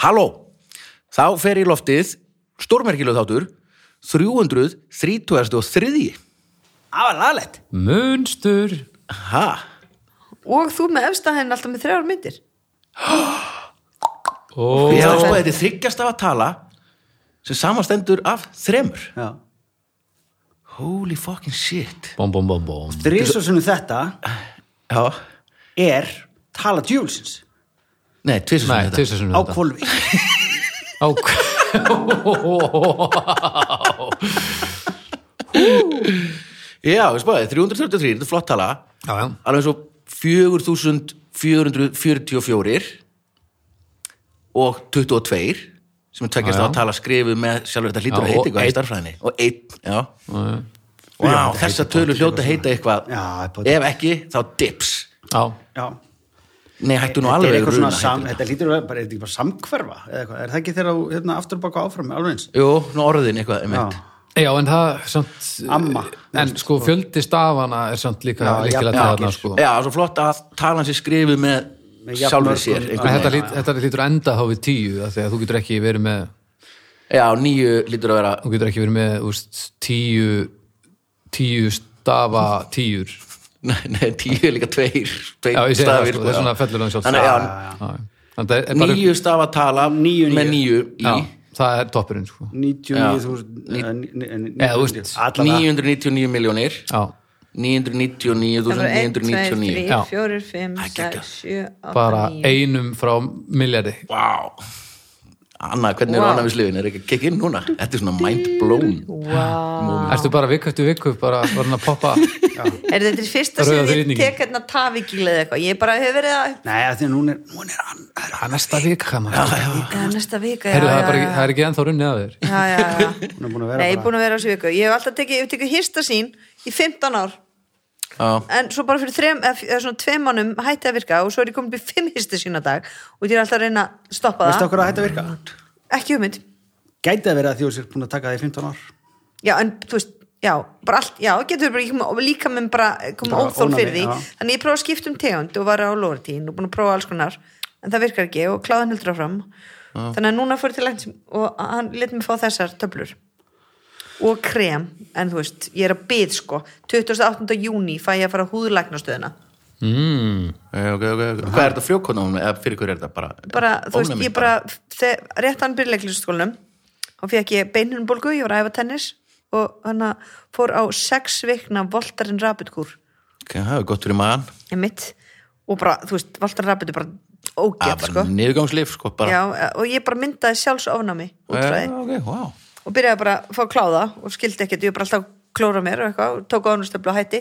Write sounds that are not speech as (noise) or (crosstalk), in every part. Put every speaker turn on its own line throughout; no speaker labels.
Halló! Þá fer í loftið stórmerkileg þáttur 333.
Það var laglegt.
Munstur
Ha?
Og þú með efstahæðin alltaf með þrjár myndir.
og
Já, þetta er þryggjast af að tala sem samanstendur af þremur.
Já.
Holy fucking shit.
bom bom bom bom
Þrísosunum þetta
Já.
er tala djúlsins
Nei, tvisar
Nei,
sem þetta.
til þessum
á kvolfi.
Á kvolf
Já, við spáðið, 333, þetta er flott tala.
Já, já
Alveg eins og 4444 og 22 sem er tveggjast
Já,
á
já.
að tala skrifuð með sjálfur þetta hlýtur
Já,
að
og
heita eitthvað í
einn.
starffræðinni og einn, já.
Já, já.
Vá, þessa tölu hljóta heita eitthvað.
Já, það er potið.
Ef ekki, þá dips.
Já,
Já.
Nei, hættu nú
Þetta er
alveg
eitthvað svona
runa,
sam,
hættu.
þetta lítur að bara, er þetta ekki bara samkverfa eða eitthvað, er það ekki þegar þú hérna, aftur baka áfram alveg eins?
Jú, nú orðin eitthvað, einmitt.
Já, en það samt, eh,
Amma.
En sko fjöldi stafana er samt líka
Já,
líkilega
jafn-
tæðna
margir.
sko
Já, svo flott að talan sér skrifuð með
Með
sjálfur
jafnmörgum-
sér.
En
einhvern
þetta,
veginn.
lít, þetta lítur að enda þá við tíu af því að þú getur ekki verið með
Já, nýju lítur að vera
þú getur ekki verið með úst, tíu tíu stafa tíur
Nei, nei, tíu er líka tveir, tveir
Já, ég segi það
stafir,
sko, það er
já.
svona fellur hann sjálf
Þannig, já,
Þannig að það er
Níu stafa tala
Níu, níu.
með níu í
já, það er toppurinn sko
99.000 eða eh, ni- ni-
Eða, þú veist,
99.000. Allavega.
999 miljónir
Já,
999.999
Já.
1, 2, 3, 4, 5, 6, 7, 8,
bara
9
einum frá miljardi
Vá Anna, hvernig er
Vá.
annað við slifin? Er ekki að kekka inn núna? Þetta er svona mind blown
Vá
Ertu bara viku eftir viku bara varin að
(laughs)
poppa
Er þetta í fyrsta
Rauða
sem ég
þrýtningin.
tek hérna tafíkilega eða eitthvað Ég bara hefur verið að
Nei, af því að núna er, núna er hann er
Það er næsta vika maður
Já, næsta vika já,
Heyrðu, það,
já,
er bara,
já.
það er ekki ennþá runnið að þér
Já, já,
(laughs)
já
Hún er búin að vera
Nei, ég
bara-
er búin að vera á þessu viku Ég hef alltaf tekið, ég hef tekið hýrsta sín í 15 ár
Já,
en svo bara fyrir þrem, eða f- eða svona tveim mánum hætti að virka og svo er ég komin upp í fimm hýrsta sína dag og ég er alltaf að reyna að stoppa
Veistu
það
okkur að þetta virka?
Ekki hugmynd
Gæti að vera að því að þú sér búin að taka það í 15 ár
Já, en þú veist, já, bara allt, já, getur bara, ég kom, líka með bara, kom
Bara
óþól
ónæmi,
fyrir því,
já.
þannig ég prófa að skipta um tegund og var á lóratín og búin að prófa alls konar, en það virkar ekki og kláðan heldur áfram, þannig að núna fór ég til læknis og hann let mér fá þessar töflur og krem, en þú veist, ég er að byð sko, 28. júni fæ ég að fara á húðlæknastöðina,
ok, ok, ok Hvað er þetta frjókonum? Eða fyrir hverju er þetta bara?
bara, þú veist,
Ónæmi
ég bara, þegar, rétt hann byrja leiklisskólanum og fekk ég beinunbólgu, ég var að æfa tennis og hann fór á sex vikna voltarinn rapitkúr
Ok, það er gott fyrir maðan
einmitt og bara, þú veist, Valtar Rapid er bara ógætt,
Ah, Bara
sko
niðurgangslif, sko bara.
Já, eh, og ég bara myndaði sjálfsofnámi útræði
Eh, ok, wow
og byrjaði bara að fá að kláða og skildi ekkert, ég var bara alltaf að klóra mér og eitthvað, og tók ánustöflu og hætti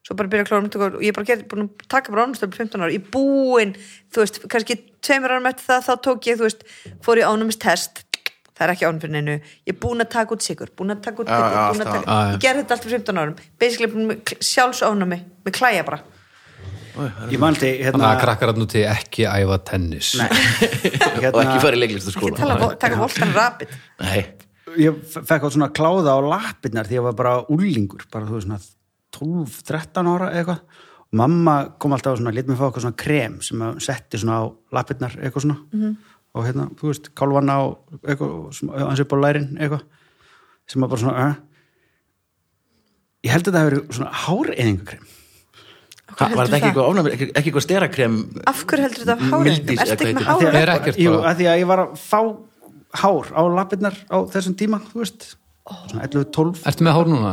svo bara byrjaði að klóra mér tók, á- og ég bara gerði, búin að taka bara ánustöflu 15 ára, í búin þú veist, kannski tveimur árum eftir það þá tók ég, þú veist, fór í ánumistest það er ekki ánumfinninu, ég er búin að taka út sigur, búin að taka út
Já,
pikur,
já,
búin að
alltaf.
taka,
Já, já.
ég gerði þetta allt fyrir 15 árum basically búin með kl- sjálfsofnámi, með klæja bara
Ég mælti
Þannig
hérna,
að krakkar hann úti ekki æfa tennis
Og ekki
hérna
fara í leiklistu
ekki tala, um vo- taka voltan rapid
Nei,
Ég fe- fekk á svona kláða á lappirnar því ég var bara úlingur bara þú veist svona 12-13 ára eða eitthvað og mamma kom alltaf og svona, lét mér fá eitthvað svona krem sem að setti svona á lappirnar eitthvað svona og hérna, þú veist, kálfana og eitthvað, sem- aðeins upp á lærin eitthvað sem að bara svona uh. ég held að það hefur verið svona háreyðingakrem
Ha, var þetta ekki eitthvað ofnæmi, ekki, ekki eitthvað sterakrem
Af hverju heldur þetta af háreyðingum?
Mildís, eða
Ertu ekki
hvað
með
heitir
Er
háreyðingar?
ekkert
Jú,
bara-
að því að ég var að fá hár á lappirnar á þessum tíma, þú veist svona 11-12,
Ertu með hár núna?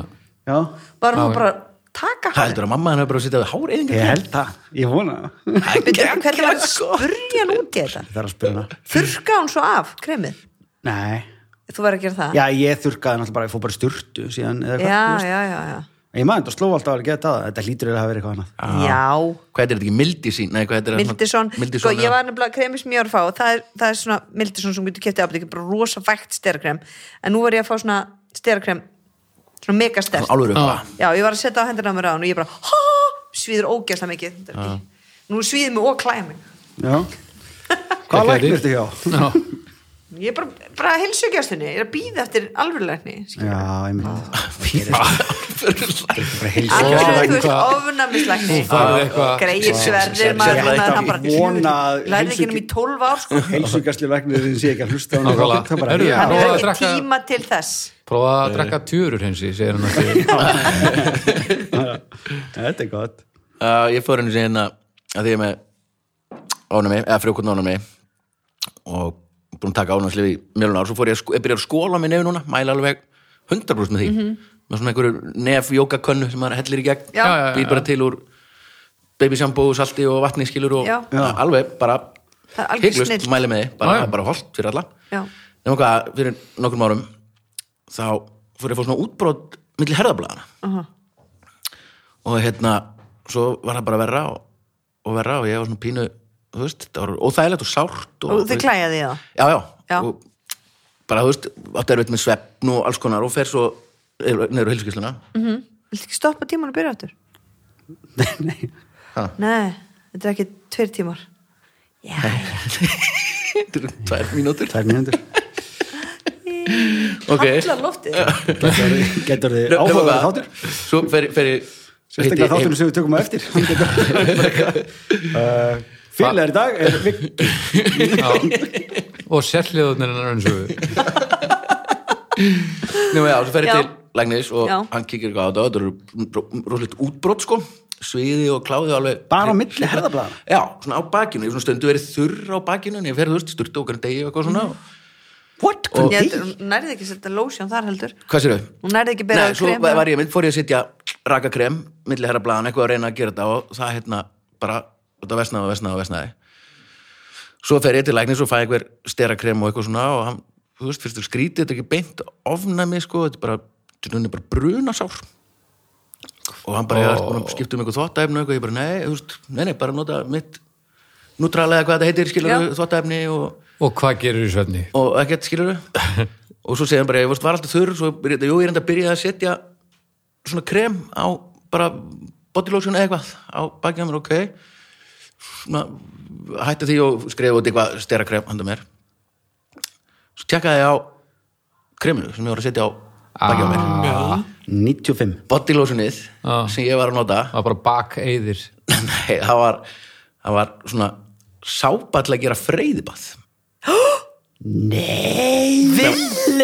já
var hún bara að taka
Það
hann
heldur að mamma hennar bara að sitja við hár
Ég
eðingar
held það, ég vona það.
hvernig var að spurja hann út í þetta
Það er að spyrja hana.
þurrka hún svo af kremið
Nei,
þú verður að gera það
já ég þurrkaði náttúrulega bara, ég fór bara í sturtu síðan eða
já,
eitthvað.
já, já, já.
Ég maður þetta sló alltaf að geta það, þetta hlýtur að hafa verið eitthvað annað.
já.
Hvað heitir þetta ekki? Mildísín? Nei, hvað heitir þetta?
Mildison, sko,
Mildísson,
ég var nefnilega kremið sem ég var að fá og það er, það er svona Mildison sem getur kæftið ábyggjum, bara rosa vægt sterakrem en nú var ég að fá svona sterakrem svona mega stert
Alveg bara
já, ég var að setja á hendina á mér á hann og ég bara "Ha, svíður ógæsla mikið Þetta er ekki- nú svíður mig og klæði mig
Já. Hvað
Hvað
læknir
gerir?
þetta hjá?
Já.
ég er bara, bara að heilsu gæstunni ég er að býða eftir alvörulegni skilur.
Já, einmitt.
Alvörulæknir.
Bara heilsa.
alveg, þú
Sérfræðingur.
veist, ofnæmislegni
Þú farið eitthvað-
greið sverðir
Sérfræðingur.
maður þannig að hann bara
Vona að
lærði ekki
heilsu-
um í 12 ár sko.
Heilsugjastlu vegna þeir sé ekki að hlusta á hann
Nákvæmlega.
Það bara-
Heyrðu,
Já.
hann
Prófaðu að
hefur ekki
drekka-
tíma til þess
prófa að drekka tjurur hensi segir hann að því
Þetta er gott (laughs)
Uh, ég fór henni sér hérna að því ég er með ónami, eða frjókvotn ónami og búin að taka ónamslið í mjölun ár, svo fór ég að sko, ég byrja að skóla með nefi núna, mæla alveg 100% með því með svona einhverju nef jókakönnu sem maður hellir í gegn,
Mhm. Já. Já, já,
já,
býr bara til úr baby shampoo, salti og vatni skilur og
Já.
alveg bara
Það er algjör
hygglust
snill.
mæli með því, bara,
Já, já.
bara holt fyrir alla
Já.
nema hvað, fyrir nokkrum árum þá fór ég að fá svona útbrot milli herðablaðana og hérna svo var það bara verra og, og verra og ég var svona pínu þú veist, þetta var óþægilegt og sárt og,
og þið klæjaði í það
já, já,
Já.
og bara þú veist, átti erfitt með svefn og alls konar og fer svo neyru hilskísluna
Viltu ekki stoppa tíman og byrja áttur?
Nei.
Nei, þetta er ekki tveir tímar Já,
tvær mínútur
Það er mjöndur
ok,
allar loftið
Getur þið
Nefnum
áhugaða
hvað,
þáttur
svo fer, fer ég
Sérstaklega
hitti-
þáttunum sem við tökum á eftir (laughs) Fyrirlegar í dag er Vik-
og sérliðunir hennar eins og
Nefnum, já, svo fer ég
Já.
til læknis og
Já.
hann kíkir eitthvað á þetta þetta eru rosalegt útbrot sko sviði og kláði alveg
Bara á milli herðablaðana?
Já, svona á bakinu, ég hef svona stundu verið þurr á bakinu en ég fer þú veist, sturtu okkur en degi og eitthvað svona
What?
Og-
Hvernig
Ég,
degi?
Hún nærði ekki að setja lotion þar heldur
Hvað sér þau?
Hún nærði ekki að bera
Nei, svo
krem
var var ég mynd, fór ég að setja raka krem, milli herra blaðan, eitthvað að reyna að gera þetta og það hérna bara, þetta vesnaði og vesnaði og vesnaði svo fer ég til læknis og fæ einhver stera krem og eitthvað svona og hann, þú veist, fyrst þú skrítið, þetta er ekki beint ofnæmi, sko, þetta er bara þetta er bara brunasár og hann bara, oh. ég skipti um eitthvað þvottaefni og eitthvað, ég bara, nei, þú veist, nei, nei, bara nota mitt nútralega hvað þetta heitir, skilur
Já.
þvottaefni og
og hvað gerir í svefni
og ekkert skilur og svo segir hann bara, ég veist, var alltaf þurr svo, byrja- jú, ég er enda að byrja að setja svona krem á bara body lotion eða eitthvað á bakið á mér, ok svona, hætti því og skrifa út eitthvað stera krem handa mér svo tjekkaði ég á kreminu sem ég var að setja á bakið á mér
95
body lotionið
Ah.
sem ég var að nota
það er bara bakeiðir
Nei, það var, það var svona sáball að gera freyðibað Nei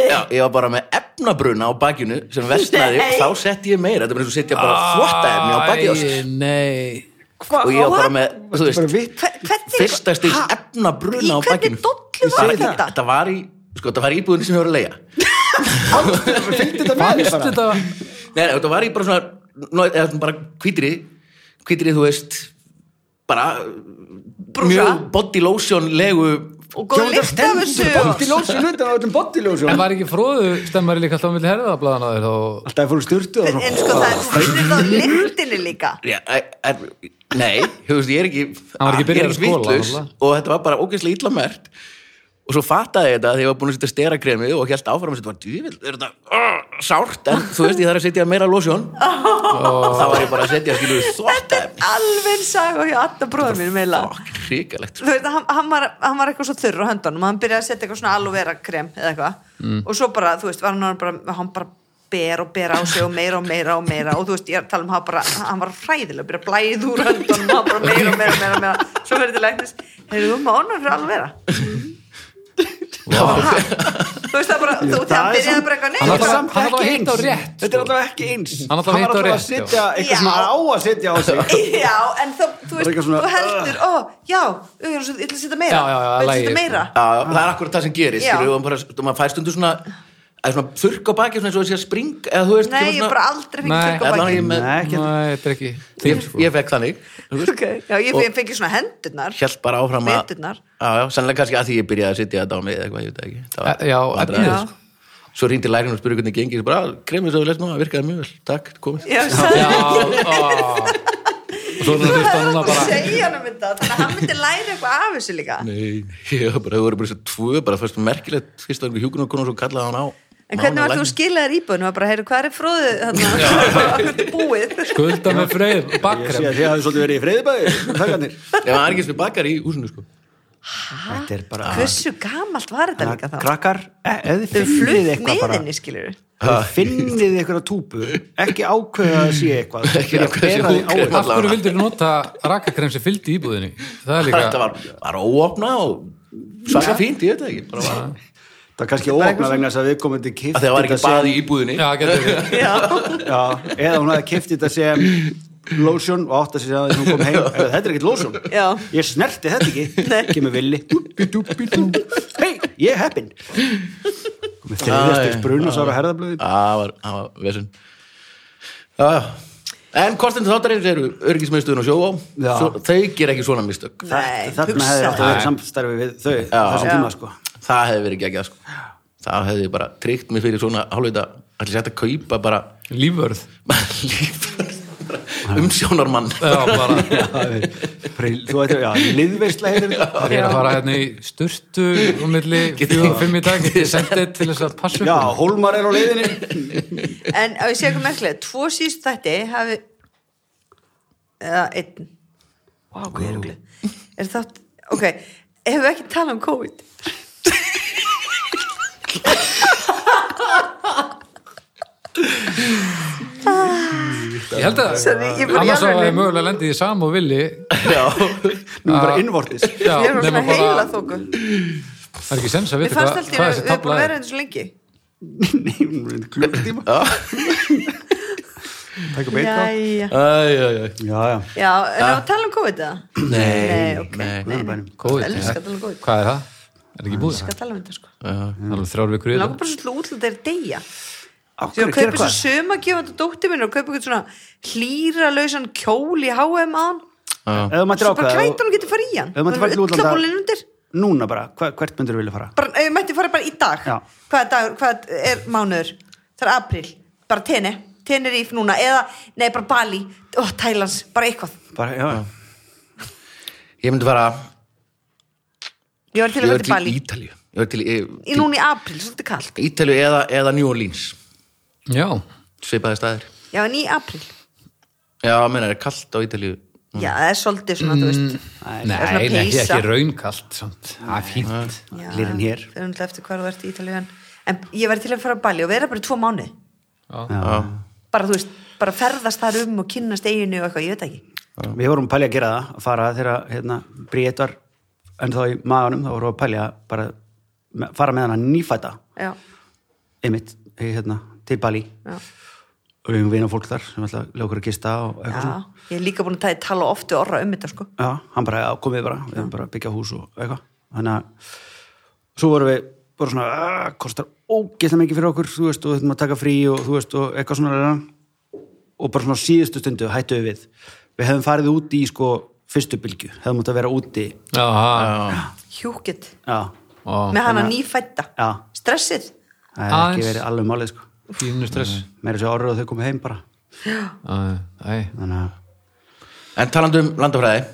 Já, ég var bara með efnabruna á bakinu sem vestnaði og þá sett ég meira þetta er bara eins og setja bara þvottaefni á bakið á sér.
Æ, nei
og ég var bara með, þú
Bara
veist
vitt
Hver- Hvernig
fyrsta stíl
Í
efnabruna á
hvernig
bakinu
dollu var
Bara-
þetta?
Þetta var í, sko, þetta var í íbúðinni sem ég voru að leia
Fylgdu þetta með
fannst
bara
þetta
Nei, nei, þetta var ég bara svona nó- eða svona bara hvítri hvítri, þú veist bara
Brúsa.
mjög body lotion legu
Og góð Sko, lykt af þessu og-
Bottilósi hlutin á öllum bottilósi
en var ekki fróðu stemmari líka alltaf á milli herðablaðan á þér þá
Alltaf fóru styrtu og
En sko það er, þú finnir það á lyktinni líka
Já, er, er, nei, þú veist, ég er ekki
Hann var ekki
ég
byrjaður
er
að skóla,
vitlaus
náttúrulega.
og þetta var bara ógeðslega illa mert og svo fattaði ég þetta þegar ég var búin að setja sterakremi og held áfram að þetta var djúvill er þetta uh, sárt, en þú veist, ég þarf að setja meira
(laughs)
lósjón og þá var ég bara að setja skilur þótt
Alveg saga hjá alltaf bróðum mínum eiginlega.
hrikalegt
þú veist, hann, hann, var, hann var eitthvað svo þurr á höndunum og hann byrjaði að setja eitthvað svona aloe vera krem eða eitthvað og svo bara, þú veist, var hann orðinn bara, hann bara ber og ber á sig og meira og meira og meira og þú veist, ég er að tala um hann bara hann var hræðilega, byrjaði að blæða úr höndunum hann bara meira og meira og meira, og meira. svo verið til læknis heyrðu, þú maður ánum fyrir aloe vera Ha? þú veist, það bara þú,
Það
þegar hann
er samt-
byrjaði bara eitthvað
Hann
nei,
var
bara,
samt- hann var hitt á rétt, sko.
Þetta er allavega ekki eins
Hann var hitt á
allavega
rétt,
að setja
já.
eitthvað svona
Já.
á að setja á sig
(laughs) já, en þú,
Bara
þú veist,
eitthvað svona, "Ah."
þú heldur ó, já, ég er svo- ég ætla að setja meira
Já, já, já,
ég ætla að
lagið,
setja
sko.
meira
Já, það er akkurat það sem gerist
Já.
skilur, og bara, og maður fær stundu svona, eða svona þurrk á baki, svona eins og þessi að spring eða þú veist,
nei,
kemur
ég
svona-
bara aldrei fengið
Nei.
þurrk á
Allan
bakið
ég með-
Nei, ekki
nei, þetta er ekki
ég, ég fekk þannig þú
(laughs)
veist.
okay. Já, ég,
Og-
ég fengi svona hendurnar
held bara áfram að
Veturnar.
já, já, sannlega kannski að því ég byrjaði að sitja þetta á mig eða eitthvað, ég veit það ekki Það var
E- já,
vandræði,
efnið,
sko. svo rýndi læknir og spurði hvernig gengið Ég bara, "Ah, kremið svo við lesnum að virkaði mjög vel takk, komið
Já, (laughs) sagði-
já á. og svo er hann að
þú
hlusta
hefði
núna
átt að
bara
segja hann um þetta þannig að hann myndi læra eitthvað af þessu líka
nei, ég var bara, þau voru bara þessi tvö bara fyrst merkilegt, fyrst var einhver hjúkun og konar svo kallaði hann á
en hvernig var þú skilaðir íbúinu og bara, heyrðu, hvað er fróðu (laughs) þannig að búið
skulda með freyð
Ég sé
bakkrem
að þið hafði svolítið verið í freyðibæði Þakkanir
ég var ekki sem bakar í húsinu sko
Þetta er bara
hversu gamalt var þetta líka
Þannig
þá
að krakkar, e- ef þið
þau eru
finnið
flutt
eitthvað bara
meðinni skilur
ef þið finnið eitthvað túpu ekki ákveða að sé eitthvað
Ekki
byrja að
ákveða að sé
bera því á
ókreifað.
Af hverju vildur nota rakakrem sem fylgdi íbúðinni? Það er
þetta
líka,
var, var óopna og svaka fínt, ég veit það ekki bara var,
eitthvað. það er kannski óopna vegna þess að við komum til kift
að það var ekki bað í íbúðinni
já, getur við
já, eða hún hafði kift þetta sem lotion og átt að segja að hún kom heim eða þetta er ekkert lotion,
Já.
ég snerti þetta ekki kemur villi hei, ég er heppin komið þriðastir
Æ,
brunasára herðablöðin
það var, það var vesinn já, já En kostin þáttarins eru örgismiðstöðun og sjóvá
Já.
svo, Þau ger ekki svona mistök
Nei,
þarna hefði átt að vera í samstarfi við þau þessum
Já.
tíma sko
Það hefði verið geggjað sko. Það hefði bara tryggt mig fyrir svona hálfveita Ætli sætt að kaupa bara
lífvörð.
umsjónarmann
Já, bara,
Príl- þú veitir, já, liðveisla heitir þetta.
það er að fara hérna í sturtu og milli fjögur og fimm í dag, getið sendið til þess að passa upp.
já,
á.
Hólmar er á leiðinni
en á ég sé eitthvað merkilega tvo síst þætti hafi eða einn wow, hvað er okkur er þátt, ok, hefur ekki talað um COVID
Ég held að,
Sorry, ég bara í
annars að það
alveg-
er mögulega lendið í sam og villi.
Já,
nú er bara innvortis
Já,
ég er
nema
svona heila
bara,
þóku
það er ekki sens að
við
vita hvað,
fannst alltaf,
hvað
við
þessi
erum búin
tabla
að
er.
vera hérna svo lengi
Nei, hún er klukkutíma Takk um eitt þá
Jæja.
æj, æj, æj
Já, já,
já, en það var tala um COVID eða?
Nei,
ok,
nei.
nei, nei.
COVID,
elskar að tala um
ja.
COVID.
hvað er það? Er ekki búið
Ég
það?
skal tala um þetta sko
Það er alveg þrjár vikur í
Mér
þetta.
langar bara svolítið útlöð þeir deyja
á
Svo
hverju,
ég
gera
kaupi svo
hvað?
sömagjöfandi dóttir minn og kaupi eitthvað svona hlýra lausan kjól í H&M án
Ef þú mættir
Svo bara
ákveða
klætur hún getur farið í hann
Ef þú mættir farið til útlanda-
Ullabólinn undir
Núna bara, hva, hvert myndur þú vilja fara?
bara, Ef ég mætti farið bara í dag
Já.
Hvað er dagur, hvað er mánuður Það er april, bara tene Teneríf núna, eða, nei bara Bali Ó, Thailands, bara eitthvað
Bara, já, já
Ég myndi fara
Ég var til
Ég
að
var
vera til
til
Bali
Ítalíu Ég var til, ég,
Í núna í april, svolítið kalt
til Ítalíu eða, eða New Orleans
Já,
Sveipaði staðir
Já, en í april
Já, meina, er kallt á Ítalíu
Mm.
Já, það er svolítið svona, þú veist
Mm. nei,
er svona
nei,
peysa.
ekki raunkalt, samt. Það er fínt.
Já,
Lirinn Mm. hér.
það er náttúrulega eftir hvað þú ert í Ítalíu en, en ég væri til að fara að Bali og vera bara í tvo mánu bara þú veist, bara ferðast þar um og kynnast eiginu og eitthvað, ég veit ekki
Við vorum að pælja að gera það, að fara þegar hérna, Bríett var ennþá í maganum, þá vorum við að pælja að bara me- fara með hana nýfæta
já,
einmitt, í, hérna, til Bali
já,
og við erum vina fólk þar sem alltaf lögur að gista og eitthvað
já
svona.
ég er líka búin að ta- tala oft við orra um þetta sko
Já, hann bara, já, komið bara, við erum bara að byggja hús og eitthvað. Þannig að svo vorum við bara svona, "Ah, kostar ógeðslega mikið fyrir okkur, þú veist, og þetta maður taka frí og þú veist, og eitthvað svona og bara svona á síðustu stundu hættu við við. Við hefum farið úti í sko fyrstu bylgju, hefum átt að vera úti
Já, já.
hjúkitt,
já,
Ó,
með hana nýfætta
já,
stressið,
það hefur ekki
Aðeins.
verið alveg málið sko.
Fínu stress.
Meira sér orður og þau komið heim bara.
Æ, æ,
Þannig að
En talandi um landafræði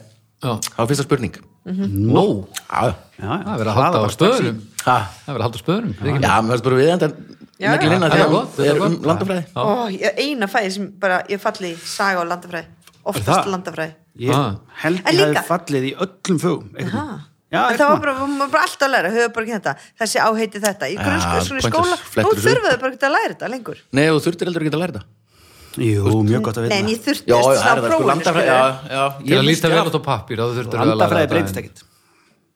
já.
Það var fyrsta spurning Nó Já,
Já, já,
Mhm. Það er verið að halda á
bara strax í.
stöðunum.
Ha?
Það er verið að halda á stöðunum. er ekki?
já mér finnst bara við enda
Já,
Neglin
já.
inn að
Það
því
er gott,
að
það er
er um
gott.
landafræði
Já.
ó, ég, eina fæði sem bara, ég falli í saga og landafræði
það?
oftast landafræði
Ég
Ah.
held
En
ég hafi
líka-
fallið í öllum fögum.
Ha.
Já,
En
eitthvað.
það var bara, maður var bara alltaf að læra, höfðu bara ekki þetta þessi áheiti þetta, í
Já,
grunnskóla í
pointus,
skóla, nú
flettur þessu upp.
þurfaðu bara ekki að læra þetta lengur
Nei, þú þurftir heldur ekki að læra þetta
Jú, mjög gott að
Nei,
vita.
en ég þurfti
Já,
að
já, það er
slá
það sko
prófinu
landafræði
skilurðu.
Já, já
Til að
ég
líta
missti
vel
af-
út á pappir, þá þurftu að læra
Landafræði
þetta.
breytist ekkit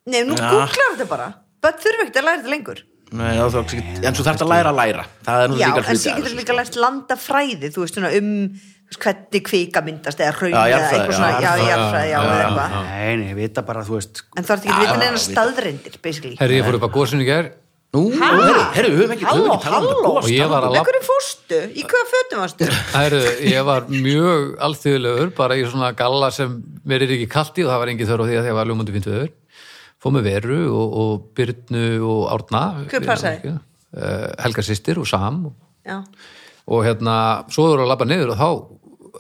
Nei, nú
Já.
googlar þetta bara Bara þurfa ekkert að læra þetta lengur
Nei, þá þarf ekki En svo þarf þetta að læra að læra Það er nú
Já,
líka
en
hluti
sér
af
getur
þessu. sko.
líka lært landafræði Þú veist, svona um þú veist, hvernig kvika myndast eða hraun
Já,
eða
jarðfræði,
eitthvað svona,
já,
já,
jarðfræði,
jarðfræði, já,
já,
eða
já,
eitthvað
Nei, nei, ég vita bara, þú veist
En þú ert ekki að vita
Já,
neina
já, vita.
staðrendir, basically
Herri, ég fór upp að góðsynu í gær
Nú, herru, herru, við höfum ekki við höfum ekki talað
Halló,
um þetta
halló
gos.
Og ég var að
Með
lapp-
hverju fórstu? Í hvaða fötum
(laughs)
varstu?
Herru, ég var mjög alþjóðlegur, bara í svona galla sem mér er ekki kalt í og það var engin þörf á því að ég var ljómandi fint viður. Fór með Veru og, og Byrnu og Árna.
Hver passaði?
Eh, Helga sýstir og Sam og
Já,
og hérna, svo vorum við að labba niður og þá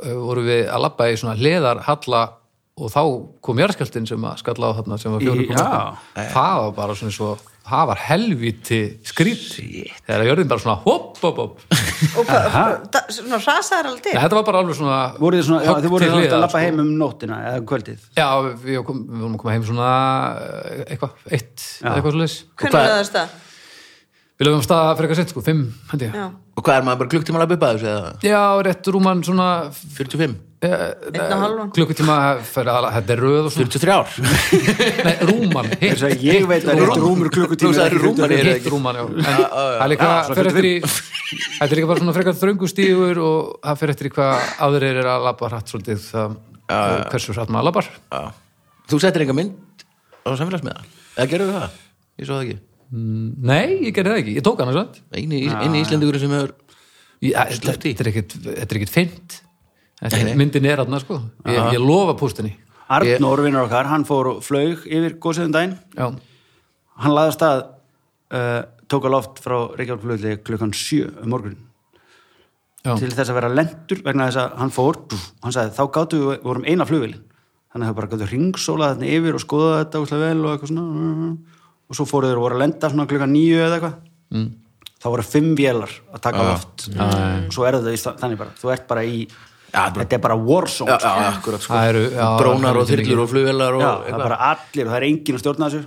eh, vorum við að labba í svona hliðar halla og þá kom jarðskjöldin sem að skalla á þarna sem var fjóru
Í- já.
það var bara svona svo það var helviti skrýtt þegar jörðin bara svona hopp, hopp, hopp
og hvað, da- svona rasaðar alveg
Nei,
til
þetta var bara alveg svona
voruð þið svona, já,
högg
þið voruð
til
svona að
hliðar,
lappa
sko.
heim um nóttina eða um kvöldið
Já, við kom, við vorum að koma heim svona eh, eitthvað, eitt, eitthvað svo leis
hvernig er það stað?
Við lögum af stað frekar sent, sko, fimm, hendi ég
Já.
Og hvað er maður bara klukktíma að lappa upp að þessu eða
Já, rétt rúman svona eh,
45?
einn og halvan
klukkutíma fyrir að, þetta er röð og svona
43 ár? (laughs)
Nei, rúman, hitt
Þess að ég veit að rétt rúmur klukkutími
Þú sagðir rúmar eru
Þetta er
ekki. Ah,
hitt rúman, já. En Það er líka,
Já, svona
fer eftir í, þetta er líka bara svona frekar þröngu stígur og það fer eftir í hvað aðrir er að labba hratt svolítið það,
Ah,
hversu hratt maður labbar.
Já. Þú settir einhver mynd á samfélagsmiða? Eða gerðu það? Ég svo það ekki.
Nei, ég gerði það ekki, ég tók hana svona.
Einu, í- einu Íslendingurinn sem hefur
Ég- að-
Sleppti í.
Þetta er ekkit, þetta er ekkit feint. Þetta
Nei,
er,
nei.
myndin er aðna, sko. Ég, ég lofa pústinni.
Arnór, vinnur okkar, hann fór og flaug yfir góðsöðum daginn
Já,
hann laði af stað uh, tók á loft frá Reykjavíkflöðli klukkan 7 um morgun
já.
til þess að vera lendur vegna þess að hann fór pff, hann sagði þá gátu við við vorum eina flugvili þannig að þau bara gátu ringsólað þarna yfir og skoðað þetta úslega vel og eitthvað svona og svo fóruður og voru að lenda svona klukkan 9 eða eitthvað mm. þá voru fimm vélar að taka á loft mm. svo er þetta í sta- þannig bara þú ert bara í
Já, bara-
þetta er bara warzone
Já,
sko.
já, akkurat sko.
Það eru, já,
Drónar og
helviti mikið.
þyrlur og flugvelar og
Já, það er
eitthvað.
bara allir og það er enginn að stjórna þessu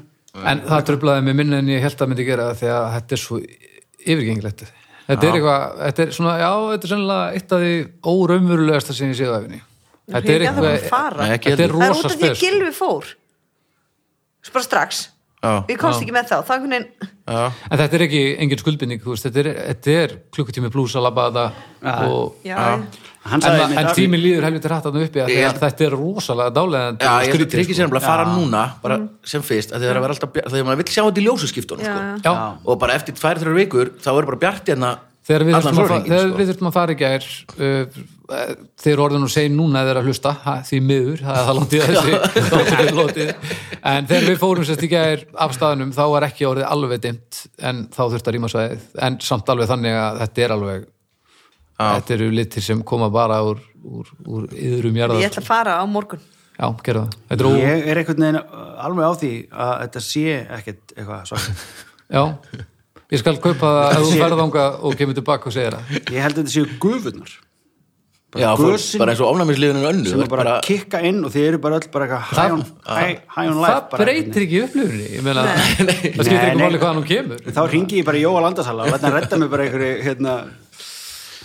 En það tröflaði mig minna en ég held að myndi gera því að þetta er svo yfirgengilegt. Þetta er eitthvað, þetta er svona, já, þetta er sennilega eitt af því óraumverulegasta sem ég séð á æfinni. Þetta er
Ég er ekki að
eitthvað,
fara.
Nei, ekki
þetta er
heldur.
það er út
rosa sko.
af því
spes.
að Gilvi fór Svo bara strax
Já.
við komst ekki með þá, þá einhvern veginn
Já.
En þetta er ekki engin skuldbindning, þú veist, þetta er, þetta er klukkutími blús að labba þetta og...
já,
hann
En,
sagði
ma-
einmitt
en
að-
tíminn líður helviti hrætt þarna uppi af því
Ég
að
held-
þetta er rosalega dálega
Já, ég ætla
sko.
tryggja sér nefnilega að fara núna bara
Mm.
sem fyrst, að þið verður að vera alltaf bjart þegar maður vill sjá þetta í ljósaskiptunum
Já, já.
sko.
Já,
og bara eftir tvær, þrjár vikur þá verður bara bjart hérna
þegar við
allan
þurftum að,
sólarhringinn,
fa- þegar
sko.
við þurftum að fara í gær uh, uh, þeir eru orðin og segin núna þeir eru að hlusta, ha, því miður það er það lótið þessi þáttur er látið. en þegar við fórum sérst í gær af staðnum þá var ekki orðið alveg dimt en þá þurfti að rýma svæðið en samt alveg þannig að þetta er alveg þetta eru litir sem koma bara úr, úr, úr yðrum
ég
jarðar
ætla að fara á morgun
já, gerða það þetta er ó,
ég er einhvern veginn uh, alveg á því að þetta sé ekkert eitthvað svart
já, ég skal kaupa það ef þú ferðanga og kemur tilbaka og segir það
ég held að þetta séu gufunar
sko. Já, fór,
Gösin-
bara eins og ofnæmisliðinu önnu
sem
þú
er
ert
bara að kikka inn og þið eru bara öll bara eitthvað high on, high, high on life
það breytir ekki upplifunni ég meina, það skiptir
Nei,
ekki
nei.
máli hvaðan hún kemur
þá ringi ég bara í Jóa Landasala og þetta redda mig bara einhverju hérna,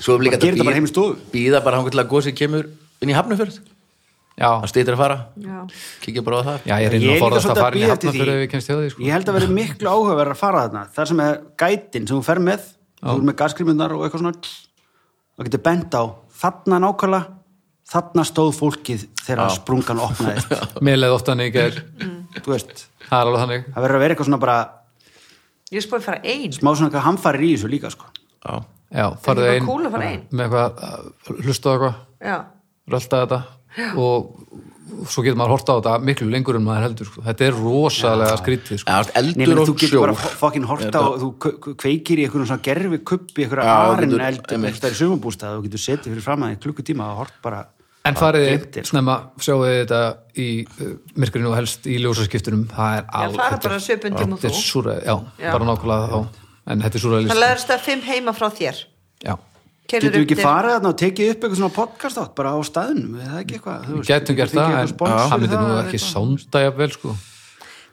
Svo er líka
Bara gera þetta bara heim í stofu.
Býða bara hangur til að gósið kemur inn í hafnafjörð
já,
Það stýttir að fara,
já.
kíkja bara á það
já, ég er
Ég er
inn að
líka
forðast
svolítið
að fara inn í
bíða eftir
hafna fyrir
því.
að við kemst hjá því sko.
ég held að vera miklu áhugaverð að fara þarna þar sem er gætin sem þú fer með þú er með gaskrimunnar og eitthvað svona það getur bent á þarna nákvæmlega þarna stóð fólkið þegar sprungan opnaði
(laughs) mér leið ofta hann í gær
þú veist
það er alveg þannig
það verður að vera eitthvað svona bara
ég spóði að fara ein
smá svona eitthvað hamfarir í þessu líka sko.
Já.
já, farðu
bara
einn
cool að fara einn.
með eitthvað, að hlusta á eitthvað
já,
rölda þetta og svo getur maður horta á þetta miklu lengur en maður heldur sko. þetta er rosalega skrítið sko.
Já, allt
Nei, menn,
eldur
þú
og
getur
sjór
bara fokkin horta og þú k- k- kveikir í einhverjum svona gerfi kubbi, einhverja
Já, þú
arinn
getur-
eld
einmitt.
það er sumabústað og þú getur setið fyrir fram að klukkutíma og hort bara
en farið
gleymdir.
snemma sjáu þetta í uh, myrkurinu og helst í ljósaskiptunum það er
ég
alveg
fara bara söpun tíma og
þetta er
þú
súræð, já,
Já.
bara nákvæmlega þá en þetta er
það
súræðlist
leðurst að fimm heima frá þér
já,
getur
Keyrðir
við
upp
ekki
til-
farið þarna og tekið upp eitthvað svona podcast átt bara á staðnum, eða ekki eitthvað þú
Við
veist,
gætum
getur
gert
fengið
það, en
eitthvað sponsor
hann
í
myndi nú
það,
ekki
eitthvað.
sonda jafnvel, sko.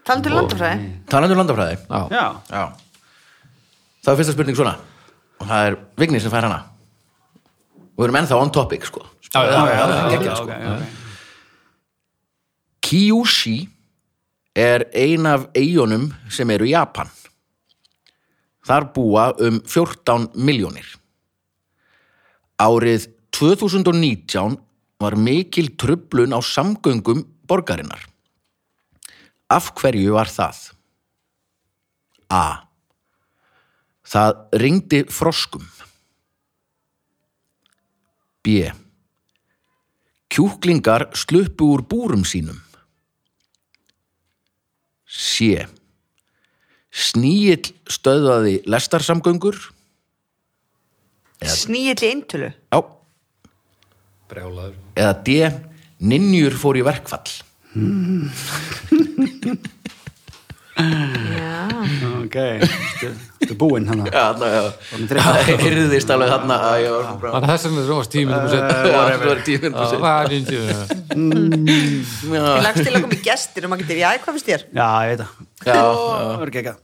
talandu um landafræði
Talandur landafræði
Já.
já,
Já Það er fyrsta spurning svona og það er Vigni sem fær hana og við erum ennþá on topic sko
Já, já, já, sko. já,
já,
já, ok, ok.
Kyushi er ein af eigunum sem eru í Japan. Þar búa um 14 miljónir. Árið 2019 var mikil tröflun á samgöngum borgarinnar. Af hverju var það? A. Það ringdi froskum. B. Kjúklingar sluppu úr búrum sínum. C. Snýill stöðaði lestarsamgöngur.
snýill í eintölu
Já.
Brjálaður.
Eða D. Ninjur fór í verkfall.
já,
Ok. ok, þetta er búinn hann
Já, þarna, já.
Orðin þreytt.
Það heyrðist alveg hann að ég var bara...
Þannig að þess vegna þú varst tímið um sett.
Já, það var tíu
Já,
minnum
það er fínt, já.
Ah.
Ég lagst til að koma í gestir og maður getur, já, hvað finnst þér?
Já, ég veit það
Já,
Það verður ekki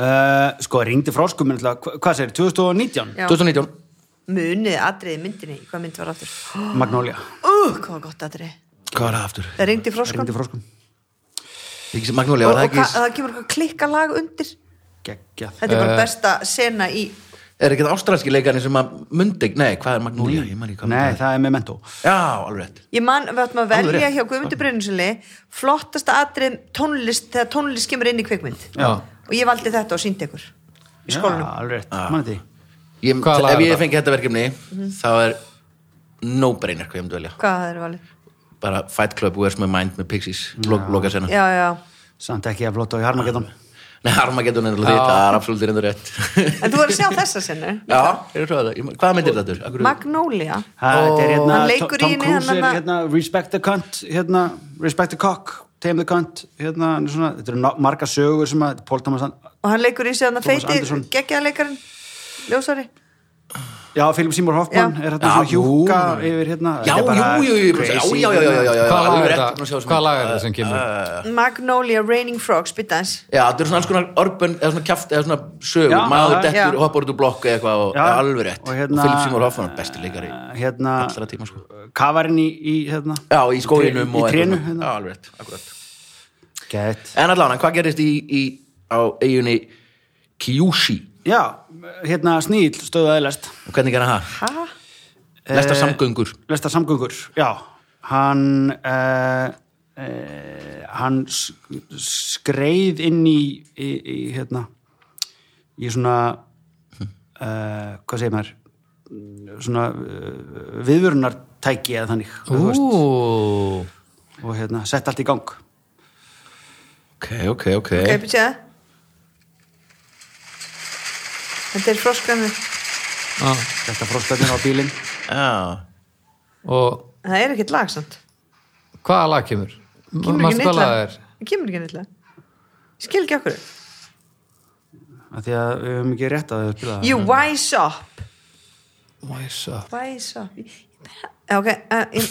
Uh, sko, ringdi fráskum hva, hvað segir, 2019?
Já.
2019
Munið atriði myndinni, hvað mynd var aftur?
(gasps)
Magnólia,
Uh, hvað var gott atriði?
Hvað var það aftur?
Það ringdi froskan
ringdi
og,
fráskum
Ekki sem Magnóli,
og
var það
hva,
ekki
það kemur eitthvað klikka lag undir
geggjað,
Þetta er
Eh.
bara besta sena í
Er ekki það ástralski leikarnir sem að Mundig, nei, hvað er Magnóli? Ég man ekki hvað
nei,
myndi
það er memento
það er. Já, alveg rétt
Ég man, við ættum að
Alveg
velja
rétt.
hjá Guðmundur Brynjusinni flottasta atrið tónlist þegar tónlist kemur inn í kvikmynd
Já.
og ég valdi þetta og síndi ykkur í
Já,
skólanum
alveg rétt,
Já.
mann því
ég,
Hvaða lag
Ef
er
ég
það?
fengi þetta verkefni þá er no-brainer hvað ég myndi velja
Hvað það eru valið?
bara Fight Club, Where's My Mind með Pixies lo loka sena
Já, já,
Samt ekki að flóta á í Harmageddon
Nei, Armageddon er alltaf
Já.
þitt, það er absolutt reyndur rétt
en þú er að sjá þessa senu
Já, ég er svo að það Ég- Hvað myndir þetta? Akkur...
Magnolia
Ha, Þetta er hérna,
Hann
Tom
leikur í
Tom
henni,
Cruise
hann
er
hann-
hérna Respect the cunt, hérna Respect the cock, tame the cunt hérna, hann er svona, þetta eru no- marga sögur sem að Paul Thomas,
og hann leikur í sig hann að
Thomas
feiti
Anderson.
geggjaðleikarinn ljósari
já, Philip Seymour Hoffman
Já.
er hérna svona hjúka yfir hérna
Já,
þetta er bara
jú, jú, jú, jú, já,
crazy.
já, já, já, já, já, já,
Hvað lag
alveg
er
rétt, búin að sjá
það
þessu
Hvað
mynd.
lag er það sem kemur?
Magnolia, Raining Frogs, býta eins
Já, þetta eru svona alls konar orben eða svona kjaft eða svona sögur,
Já,
maður
já.
dettur,
Já.
hoppar út úr blokk eða eitthvað og
Já.
já, alveg rétt
Og hérna-
Philip Seymour Hoffman er besti leikari
hérna,
allra tíma sko
kafarinn í, í hérna
Já, í skóginum
í
og
trénu,
eitthvað.
hérna.
Já, alveg rétt, akkurat
Gæt.
En allan, hvað gerist í, í á eigunni Kyushi
já, hérna sníl stöðu aðeinlest
og hvernig gerða það?
ha?
Lestar samgöngur
Lestar samgöngur, já hann uh, uh, hann s- skreið inn í, í, í hérna í svona uh, hvað segir maður svona uh, viðvörunartæki eða þannig þú veist,
Ú,
og hérna, sett allt í gang
Ok, ok, ok
ok, býta það þetta er froskanur
já.
þetta fróskarnir á bílinn
Já,
Og
það er ekkert lag samt
hvaða lag kemur?
kemur
Manstu hvað
ekki neitt
lag
lag
er?
Það kemur ekki neitt lag ég skil ekki okkur
af því að við höfum ekki rétt að við spila
you wise up
Wise up.
wise up Ég- ég- ok, uh, ég,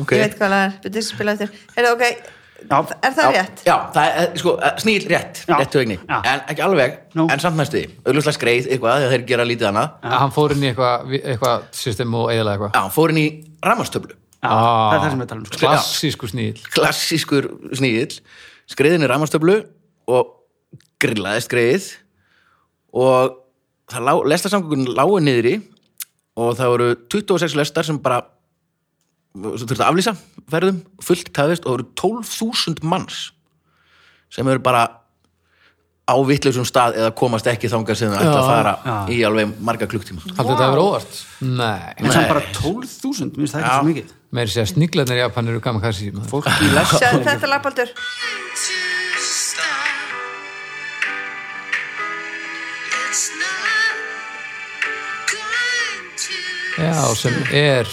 Ok.
ég veit hvað lag er býta þess að spila eftir Heyrðu, ok,
Já.
er það
Já,
rétt?
Já, það er, sko, sníl rétt,
Já.
rétt högni
Já.
En ekki alveg,
Nú.
en samt næstu því Auðvitað skreið eitthvað þegar þeir gera lítið annað
Ah, Hann fór inn í eitthvað eitthva system og eiginlega eitthvað.
Já, hann fór inn í rammastöflu
Já,
Ah.
það er það sem við talum um, sko.
Klassísku sníl.
Klassískur sníl Skreiðin í rammastöflu og grillaði skreið og það lá, lestarsamgöngun lágu niðri og það voru 26 lestar sem bara sem þurfti að aflýsa ferðum, fullt tafist og það voru 12.000 manns sem eru bara á vitlausum stað eða komast ekki þangað sem það ætti að fara í alveg marga klukktíma
Haldið þetta að vera óvart? Nei.
en samt bara 12.000, mér finnst það ekki svo mikið
Meir sér sniglarnir í Japan eru kamakassi. maður.
fólk í lest
Sjáðu þetta lagbaldur
Já, sem er,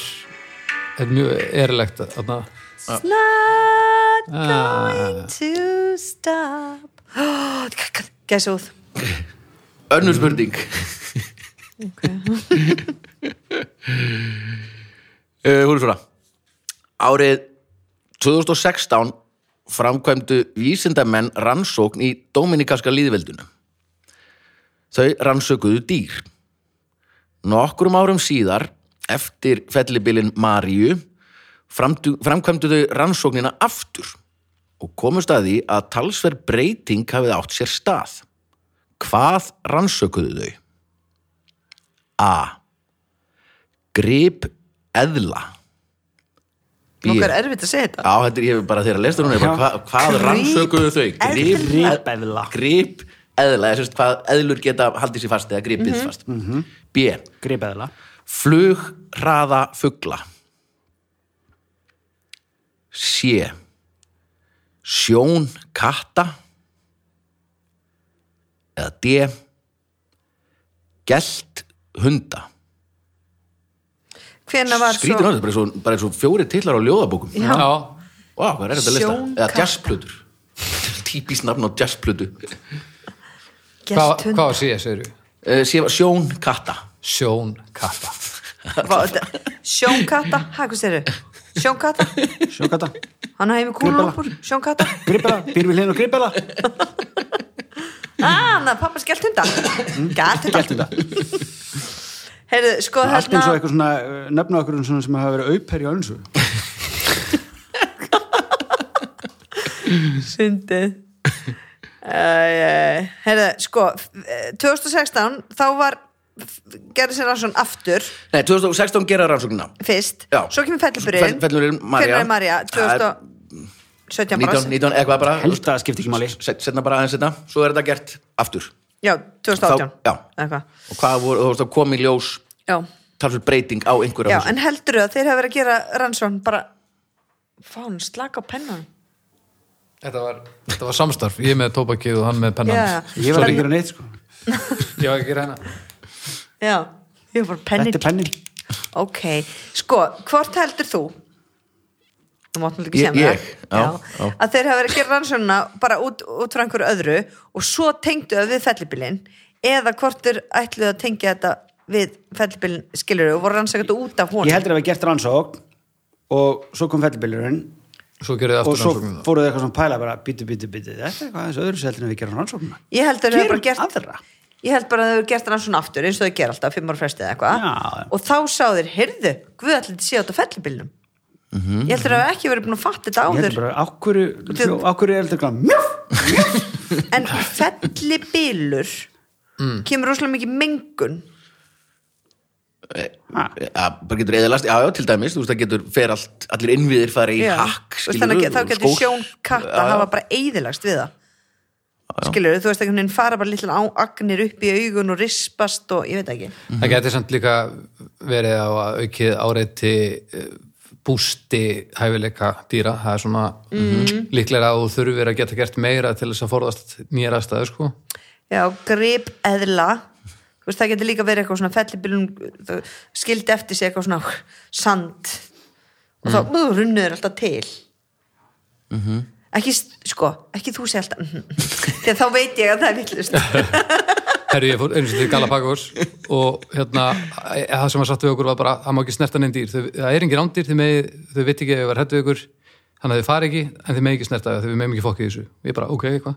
er mjög erilegt. Þarna.
It's not
Ah.
going to stop (gasps) Gæs út
Önnur spurning (laughs) okay. Eh, Hún er svona Árið 2016 framkvæmdu vísindamenn rannsókn í Dominikaska líðveldunum Þau rannsökuðu dýr Nokkrum árum síðar eftir fellibylin Maríu framdu- framkvæmdu þau rannsóknina aftur og komust að því að talsverð breyting hafið átt sér stað Hvað rannsökuðu þau? A. Grip eðla B.
Nókar erfitt að segja þetta
Já, þetta er ég hef bara þegar að lesta núna ég bara, hva, Hvað
Grip
rannsökuðu þau? Grip,
Gripeðla.
Grip eðla, eða sérst hvað eðlur geta haldið sér fast eða gripið
Mhm.
fast B.
gripeðla
Flug hraða fugla C. Sjón katta eða D. Gelt hunda
Hvena var
Skrítið
svo
náttúrulega, bara eins og- bara eins og fjóri tillar á ljóðabókum Vá,
Já.
Já,
hvað er þetta að lista?
Sjón
Eða (laughs)
katta.
jazzplötur Típist nafn á jazzplötu
Hvað,
Gesthund.
hvað var síðan, segir við?
Eh, sé- Sjón katta
Sjón kappa.
Vá, þetta- Sjónkatta, hæ, hvað segir þau? Sjónkatta,
Sjókata,
hann hefði með kúlun okkur Sjónkatta,
gripela, býr við hlinn og gripela
hérna- Ah, hann að pappa skellt hunda
Mm.
Gælt hunda Heyrðu, sko
Allt eins og
hérna
eitthvað svona uh, nefna okkur svona sem hafa verið auper í önsu
Sundið uh, Heyrðu, sko eh, 2016, þá var gerði sér rannsókn aftur
Nei, 2016 gera rannsóknina
fyrst,
Já.
svo kemur fellurburinn
Fell- fellurinn María.
Maria
Það er-
2017 bara
19, 19 eitthvað bara
Held að það skipti ekki máli
set- setna bara aðeins þetta, svo er þetta gert aftur
Já, 2018
Þá- já.
Eitthvað.
og hvað voru, þú veist að kom í ljós
já.
talsvöld breyting á einhverja
Já,
húsum.
en heldur að þeir hafa verið að gera rannsókn bara, fán, slaka á pennan
Þetta var, þetta var samstarf, ég með tóbakið og hann með pennan.
Já,
Ég var ekki að gera neitt sko
Ég var ekki að gera hana.
já, ég var bara
Þetta er
pennin
pennin
Ok, sko, hvort heldur þú? Þú mátt náttúrulega ekki
Ég-
segja mér
ég?
það.
Já, já.
Að þeir hafa verið að gera rannsóknuna bara út, út frá einhverju öðru og svo tengdu það við fellibillin eða hvort þeir ætluðu að tengja þetta við fellibillin skilur og voru rannsakað þetta út af honum
Ég heldur að við gert rannsókn og svo kom fellibillurinn
Svo gerði
og
aftur
svo
rannsóknum.
fóruðu eitthvað svona pæla bara bítu, bítu, bítu, þetta er eitthvað aðeins öðru seldur en við gerum rannsóknuna
Ég held að þau hafa bara
Gerum
gert
aðra.
Ég held bara að þau hafa gert hann svona aftur eins og þau ger alltaf, fimm ára fresti eða
Já,
eitthvað
já.
og þá sá þeir, heyrðu, guð allir sé átt á fellibillnum
Mhm.
Ég held að þau hafa ekki verið búin að fatta þetta
Ég heldur
áður
bara, á hverju,
Þú-
á hverju er þetta eitthvað mjöf
en fellibillur
Mm.
kemur rosalega mikið mengun
Já, bara getur eðalast, já, já, til dæmis, þú veist, það getur fer allt, allir innviðir fara í
Já.
hakk,
Þú veist,
skilur
þannig að þá getur sjón katta
Já, já.
hafa bara eðilagst við það skilur, þú veist ekki hún fara bara lítlan á agnir upp í augun og rispast og ég veit ekki
Mhm.
Það geti samt líka verið á að aukið áreiti eh, bústi hæfileika dýra, það er svona
Mhm.
líklega að þú þurfir að geta gert meira til þess að forðast nýjar aðstæður sko.
Já, grip eðla Þú veist, það getur líka verið eitthvað svona fellibilum skildi eftir sig eitthvað svona sand og þá mm. runnur alltaf til ekki, s- sko, ekki þú sé alltaf mm þegar þá veit ég að það er vittlust
Herru, ég fór eins og til Galapagos og hérna, eh, það sem að sattu við okkur var bara, það má ekki snerta neinn dýr þau, það er engin rándýr, þau, megi, þau veit ekki að ég var hættu við ykkur, þannig að þau fari ekki en þau megi ekki snerta, þau meðum ekki fokkið þessu og ég bara, ok, eitthvað,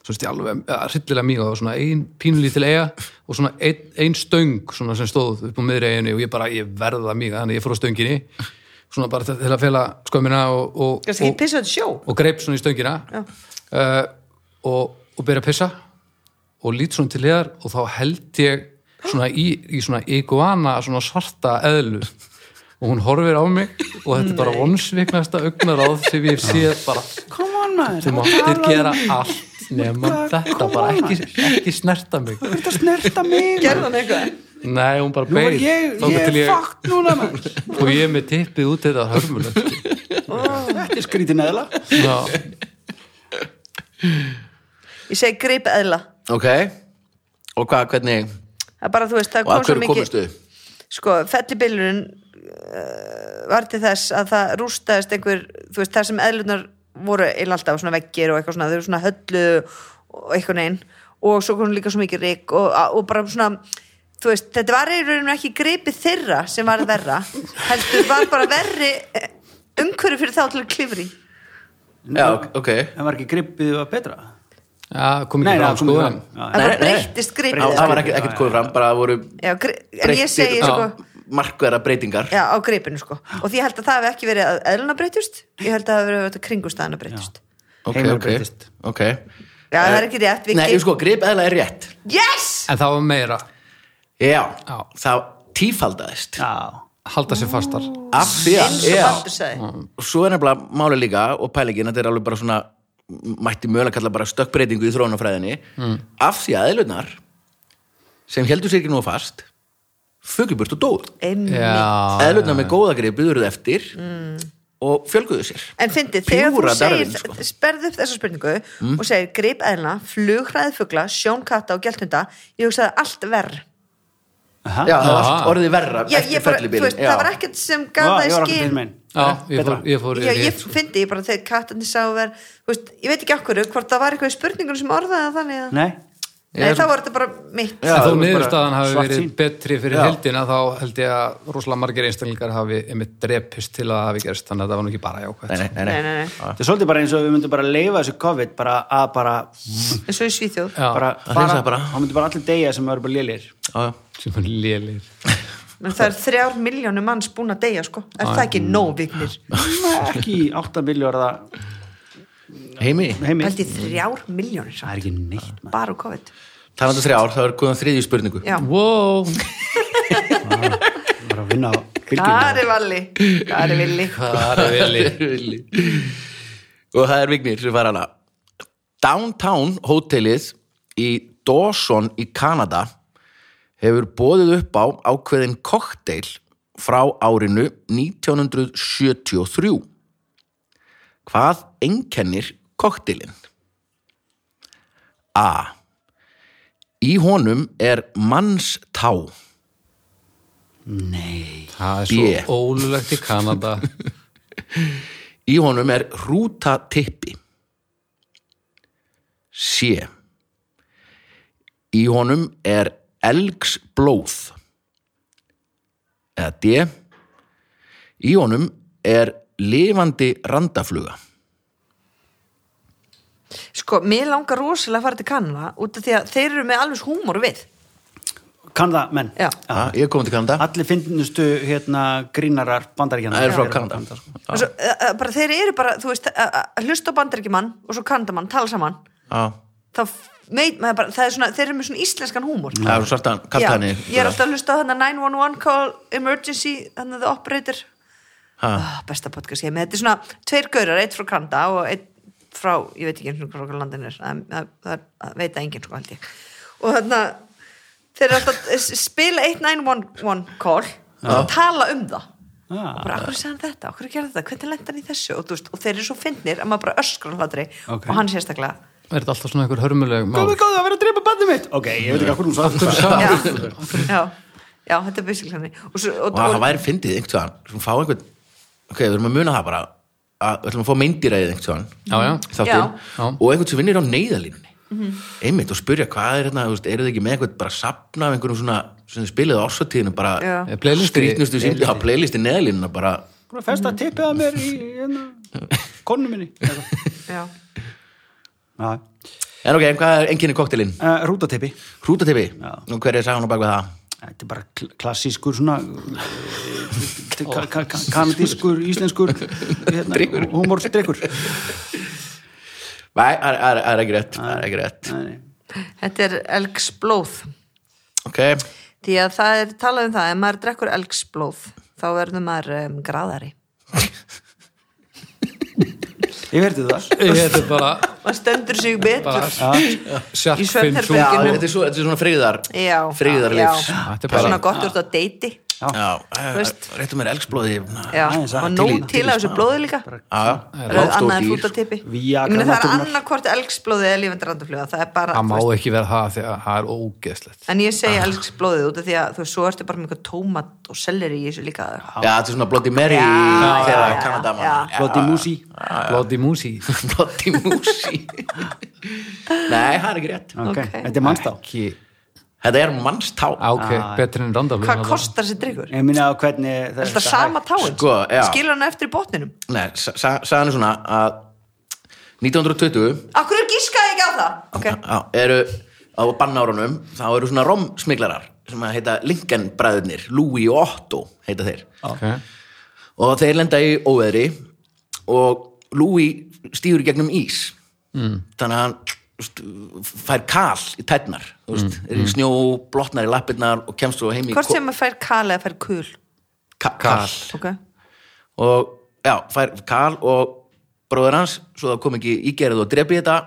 svo veist ég alveg ja, hryllilega mjög, það var svona ein pínlítil eiga og svona ein, ein stöng svona sem stóð upp á miðri eiginni og ég bara ég verða mjög, þannig að ég fór á stöngini svona bara til til að fela skömmina og, og,
kannski
og,
ekki pissa þetta sjó
og greip svona í stöngina uh, og, og byrja að pissa og lít svona til liðar og þá held ég svona í, í svona iguana svona svarta eðlu og hún horfir á mig og þetta er bara vonsviknasta augnaráð sem ég hef séð bara
Come on maður, um-
þú máttir gera allt nema
Hvað-
þetta
hvað
bara
var
ekki, ekki snerta mig
þú ert að snerta mig maður.
Gerðan eitthvað
nei, hún bara
Nú er
beið
ég,
þangað
ég
til
er fakt núna maður
(laughs)
og ég er með tippið út þetta hörmulegt
Þetta er skrítin eðla
Já.
Ég segi grip eðla
Ok, og hvað, hvernig,
Það er bara, þú veist, það
og
kom
að
svo
hverju
mikið
komist þau?
sko, fellibillurinn uh, var til þess að það rústaðist einhver, þú veist, þar sem eðlunar voru eil alltaf, svona veggir og eitthvað svona, þau eru svona höllu og eitthvað neginn og svo kom líka svo mikið rík og, og bara svona, þú veist, þetta var í rauninu ekki gripið þeirra sem var verra heldur var bara verri umhverju fyrir þá til að klifri
Já, ok.
En var ekki gripið að betra?
Já, kom
Nei,
ekki
það
fram
kom
sko
ekki
en
fram. Já,
það
Nei, nei,
bara
nei.
breyttist gripið
Já,
þeirra.
það var ekkert, ekkert komið fram, bara voru
Já, gri- en ég segi sko
markverða breytingar.
Já, á greipinu sko og því ég held að það hef ekki verið að eðluna breytust ég held að það hef verið að kringustæðina breytust
Ok,
Heimur
ok,
breytist.
ok.
Já, það er ekki rétt, Viki.
Eh, Nei, sko, grip eðla er rétt.
Yes!
það var meira
Já,
Já.
það tífaldaðist.
Já
halda sér fastar
Af því að,
Eins og
já,
Baldur sagði.
og svo er nefnilega máli líka og pælingin, þetta er alveg bara svona mætti mögulega kalla bara stökkbreytingu í þróunafræðinni af því að eðlunar sem heldur sér ekki nú fast fugluburt og dóð
Einmitt.
Já,
eðlunar með góða gripi urðu eftir
Mm.
og fjölguðu sér
En fyndi, þegar þú
Pjúra
segir,
darfin, sko. Mm.
sperðu upp þessa spurningu og segir grip eðlina, flughræðfugla, sjónkatta og geltunda, ég hugsaði allt verð.
Aha.
Já, það var
Aha.
allt orðið verra
Ég,
eftir
ég bara, þú
fellibylinn,
veist,
já.
það var ekkert sem
Vá,
gaf það
ég
í
var
skil.
okkur minn Eh,
já ég, fór, ég fór
Já, ég
rétt.
fyndi, ég bara þegar kattarnir sá verð, þú veist, ég veit ekki okkur, hvort það var eitthvað í spurningunum sem orðaði það þannig að...
Nei,
Nei, þá var þetta bara mitt
Já,
en
þú
þó
ert
niðurstaðan
bara
hafi
svart
verið
sýn.
betri fyrir
Já.
heldina þá held ég að rosalega margir einstaklingar hafi einmitt drepist til að það hafi gerst þannig að það var nú ekki bara jákvæmt
nei, nei,
Nei,
nei.
nei, nei.
þetta er svolítið bara eins og við myndum bara leifa þessu COVID bara að bara,
eins og í Svíþjóð
Já,
bara
að hreinsa bara.
þá myndum bara allir deyja sem eru bara lélir
(laughs) Já, já.
sem er lélir
menn það er þrjár miljónu manns búin að deyja sko. er það ekki nóg vignir
ekki 8 miljóra
Heimi,
heimi
held ég þrjár miljónir
það er ekki neitt maður.
bara úr COVID
talandi um þrjár, þá er komið þriðju spurningu.
Já.
wow,
bara að vinna á bylgjum
Kari Valli Kari Villi
það er lélir
Villi. og það er Vignir sem fara hana Downtown hótelið í Dawson í Kanada hefur bóðið upp á ákveðin kokteil frá árinu 1973 Hvað einkennir kokteilin? A Í honum er mannstá
það er svo
B.
ólulegt í Kanada
Í honum er rútatippi. C. Í honum er elgsblóð. Eða D. Í honum er lifandi randafluga.
sko, mér langar rosalega að fara til Kanada út af því að þeir eru með alveg húmor við
Kanada menn
Já.
Ah, ég kom til Kanada.
allir finnustu hérna grínarar bandaríkjana
Það er frá Kanada.
Og svo, eh, eh, bara, þeir eru bara, þú veist, að að hlusta á bandaríkjumann og svo kandamann, tala saman
Ah,
þá meit maður bara, það er svona, þeir eru með svona íslenskan húmor
það er svarta
Já,
kaltani.
ég er alltaf að hlusta á þarna 911 call emergency, þannig að the operator
alltaf...
oh, besta podcast ég er með, þetta er svona tveir gaurar, eitt frá Kanda og eitt frá, ég veit ekki eins og frá landin er, það, það, það, það veit það enginn sko held ég og þarna þeir eru alltaf að s- spila 891 call og tala um það
Ah.
og bara, okkur segja hann þetta, okkur gera þetta hvernig lenda hann í þessu, og, þú veist, og þeir eru svo fyndnir að maður bara öskrar hann hlatri
Ok.
og hann sérstaklega
er þetta alltaf svona einhver hörmuleg mál
Góðu, góðu, að vera að drepa bandið mitt Ok, ég veit ekki að hvernig hún svo
Ah.
já,
(laughs)
já, já, þetta er busikl hann og, svo, og,
Og það væri fyndið einhvern tíðan. Svo fá einhvern... Ok, við erum að muna það bara. Að, við ætlum að fá meindiræðið einhvern tíðan.
já, já,
Já.
þáttinn
Já.
og einhvern sem vinnir á neyðalínunni einmitt og spyrja hvað er hérna þú veist, eru þið ekki með eitthvað bara safna af einhverjum svona sem þið spilið á ársatíðinu bara
Já.
Eh, playlisti-
skrýtnustu síndi á playlisti neyðalínuna bara
Hún er fest að tippið að mér í konu minni
já,
en ok, en hvað er enginni koktelin?
Eh, Rútatippi
Hrútatipi,
Já.
og hver er sagan á bak við það?
Þetta er bara kl- klassískur svona eh, ka- ka- ka- kanadískur, íslenskur hérna, húmórsdrykkur
Nei, það er- það er það er ekki rétt, það er ekki rétt
Þetta
þetta er elgsblóð
ok,
Því að það er talað um það, ef maður drekkur elgsblóð, þá verður maður um, graðari.
Ég verði það
þetta er bara
Maður stendur sig betur. Í
sjarkfinn
svefnherbergi.
já,
Fylgjum.
þetta er, svo, þetta er svona friðar
Já.
friðarlífs
Þetta
já.
er
Það er
bara-
svona gott úr þetta deiti.
já,
veist.
réttum Eh, mér elgsblóði
Já,
Aðeins að-
og nóg
til í-
til að þessu blóði líka.
já,
Það er annað en fútatipi.
Vía
Ég meina það er
grannátturinnar.
annarkvort elgsblóði eða lífendur andafljóða. Það er bara,
það má
þú veist,
ekki Ah. vera það því að það er ógeðslegt
en ég segi elgsblóðið út af því að þú veist, svo ertu bara með einhver tómat og selleri í þessu líka.
já, þetta er svona Bloody Mary
Já, já,
þegar
já,
Kanadamann
já.
Blotti músi
Bloody Musi
(laughs) Bloody Musi Nei, það er ekki rétt
Ok,
Ok.
Þetta er mannstá
ekki,
Þetta er mannstá
á, ok, betri en randaflug
Hvað kostar þessi drikkur?
Ég minna á hvernig
Er þetta sama táin?
Sko, já.
Skilur hann eftir í botninum?
Nei, sa- sa- sagan er svona að 1920
Akkur gískaði ekki á það? Okay.
á, eru á bannárunum þá eru svona romsmiglarar sem að heita Lincoln bræðurnir Louis og Otto heita þeir
okay.
og þeir lenda í óveðri og Louis stýur í gegnum ís mm. þannig að hann þú veist, fær kal í tætnar mm. er í snjó, blotnar í lappirnar og kemst svo heim í
Hvort sem maður fær kal eða fær kul?
ka kal
Okay.
og já, fær Karl og bróður hans, svo það kom ekki ígerið og drepi þetta,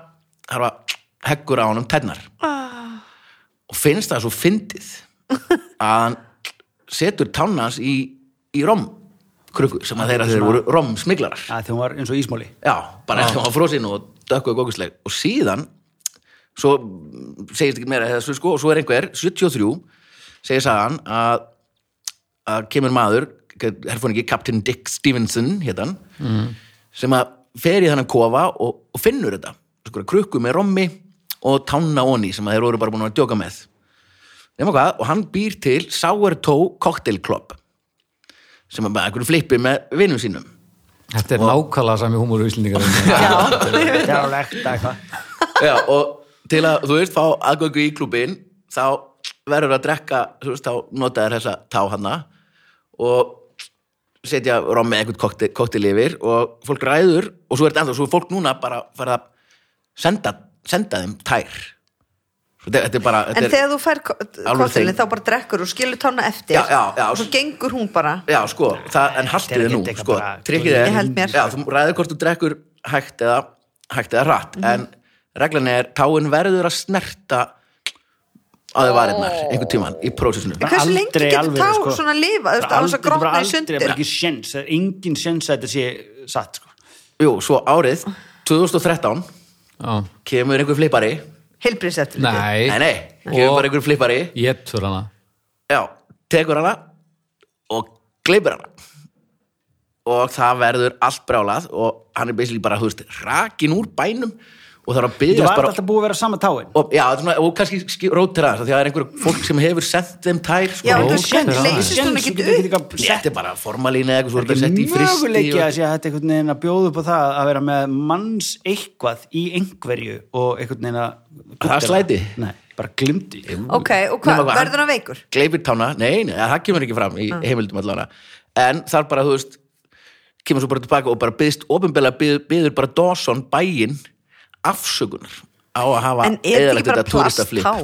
þarf að heggur á honum tennar
Ah.
og finnst það svo fyndið að hann setur tánna hans í, í rom krukku sem að þeirra þeir voru rom smiglarar
Þegar hún var eins og
(laughs)
ísmáli
já, bara (laughs) eftir að hann frósin og dökkuð gókisleg og síðan svo mm, segist ekki meira þessu sko og svo er einhver, 73 segir sagan að að kemur maður herfóningi, Captain Dick Stevenson hétan, mm. sem að fer í þannig kofa og, og finnur þetta, sko krukku með rommi og tanna onni sem að þeir voru bara búin að djóka með nema hvað, og hann býr til Sourdough Cocktail Club sem er bara einhverju flippi með vinnum sínum
Þetta er nákvæmlega sami húmur í Íslendingar
já,
Það er lekt eitthvað.
Já, og til að, þú veist, fá aðgöngu í klubin þá verður að drekka þú veist, þá notaður þessa tá hana og setja rom með einhvern kokte- kokteil yfir og fólk ræður og svo er þetta ennþá, svo er fólk núna bara farið að senda, senda þeim tær Svo þetta þetta er bara þetta
en
er,
þegar þú fær kostilin
þing.
þá bara drekkur og skilur tónna eftir
Já, já, já.
og svo gengur hún bara
Já, sko, það, en
Þetta
haldið
er
þið nú,
ekkert eitthvað
sko,
bara-
trikkið er
Ég held mér.
Já, þú ræður hvort þú drekkur hægt eða hægt eða rætt,
Mhm.
en reglan er, táin verður að snerta að þau varirnar einhvern tíman í prósessinu
En hversu lengi
Aldrei
getur
alveg,
tá svona lifað, þú
Bara
veist, án þess að
aldrei- bara
grotna í
aldrei,
sundur?
bara ekki sjens, það er engin sjens að þetta sé satt sko.
Jú, svo árið 2013 kemur einhver flippari
heilbriðsettur
Nei,
Nei, nei, kemur
Og-
bara einhver flippari
ég tur hana
Já, tekur hana og gleipir hana og það verður allt brjálað og hann er basically bara, þú veist, rakin úr bænum og þarf að
Þetta
byggjast
var
bara
alltaf búið að vera sama táin
og, já, þetta er svona, og kannski rótir aðeins af því að það er einhver fólk sem hefur sett þeim tær sko,
Já,
og
þú
Ó,
skönn
sjens,
leysist hún ekki upp
þetta er bara formalín eða eitthvað svo er þetta sett í fristi
Möguleiki að
og,
sé að þetta einhvern veginn að bjóða upp á það að vera með manns eitthvað í einhverju og einhvern veginn að
Það er slæti.
Nei, bara glimti
ok, og
Nema
hvað,
hvað,
verður hann veikur?
gleipir tána, nei, nei, það kemur ekki fram í
Ah.
heimildum allavega, en þar bara þú veist, kemur svo bara tilbaka og bara byðst, ofinbeglega byður, byður bara Dawson bæinn afsökunar á að hafa
en er þetta
eyðilagt
ekki bara
túristaflip.
plasttá?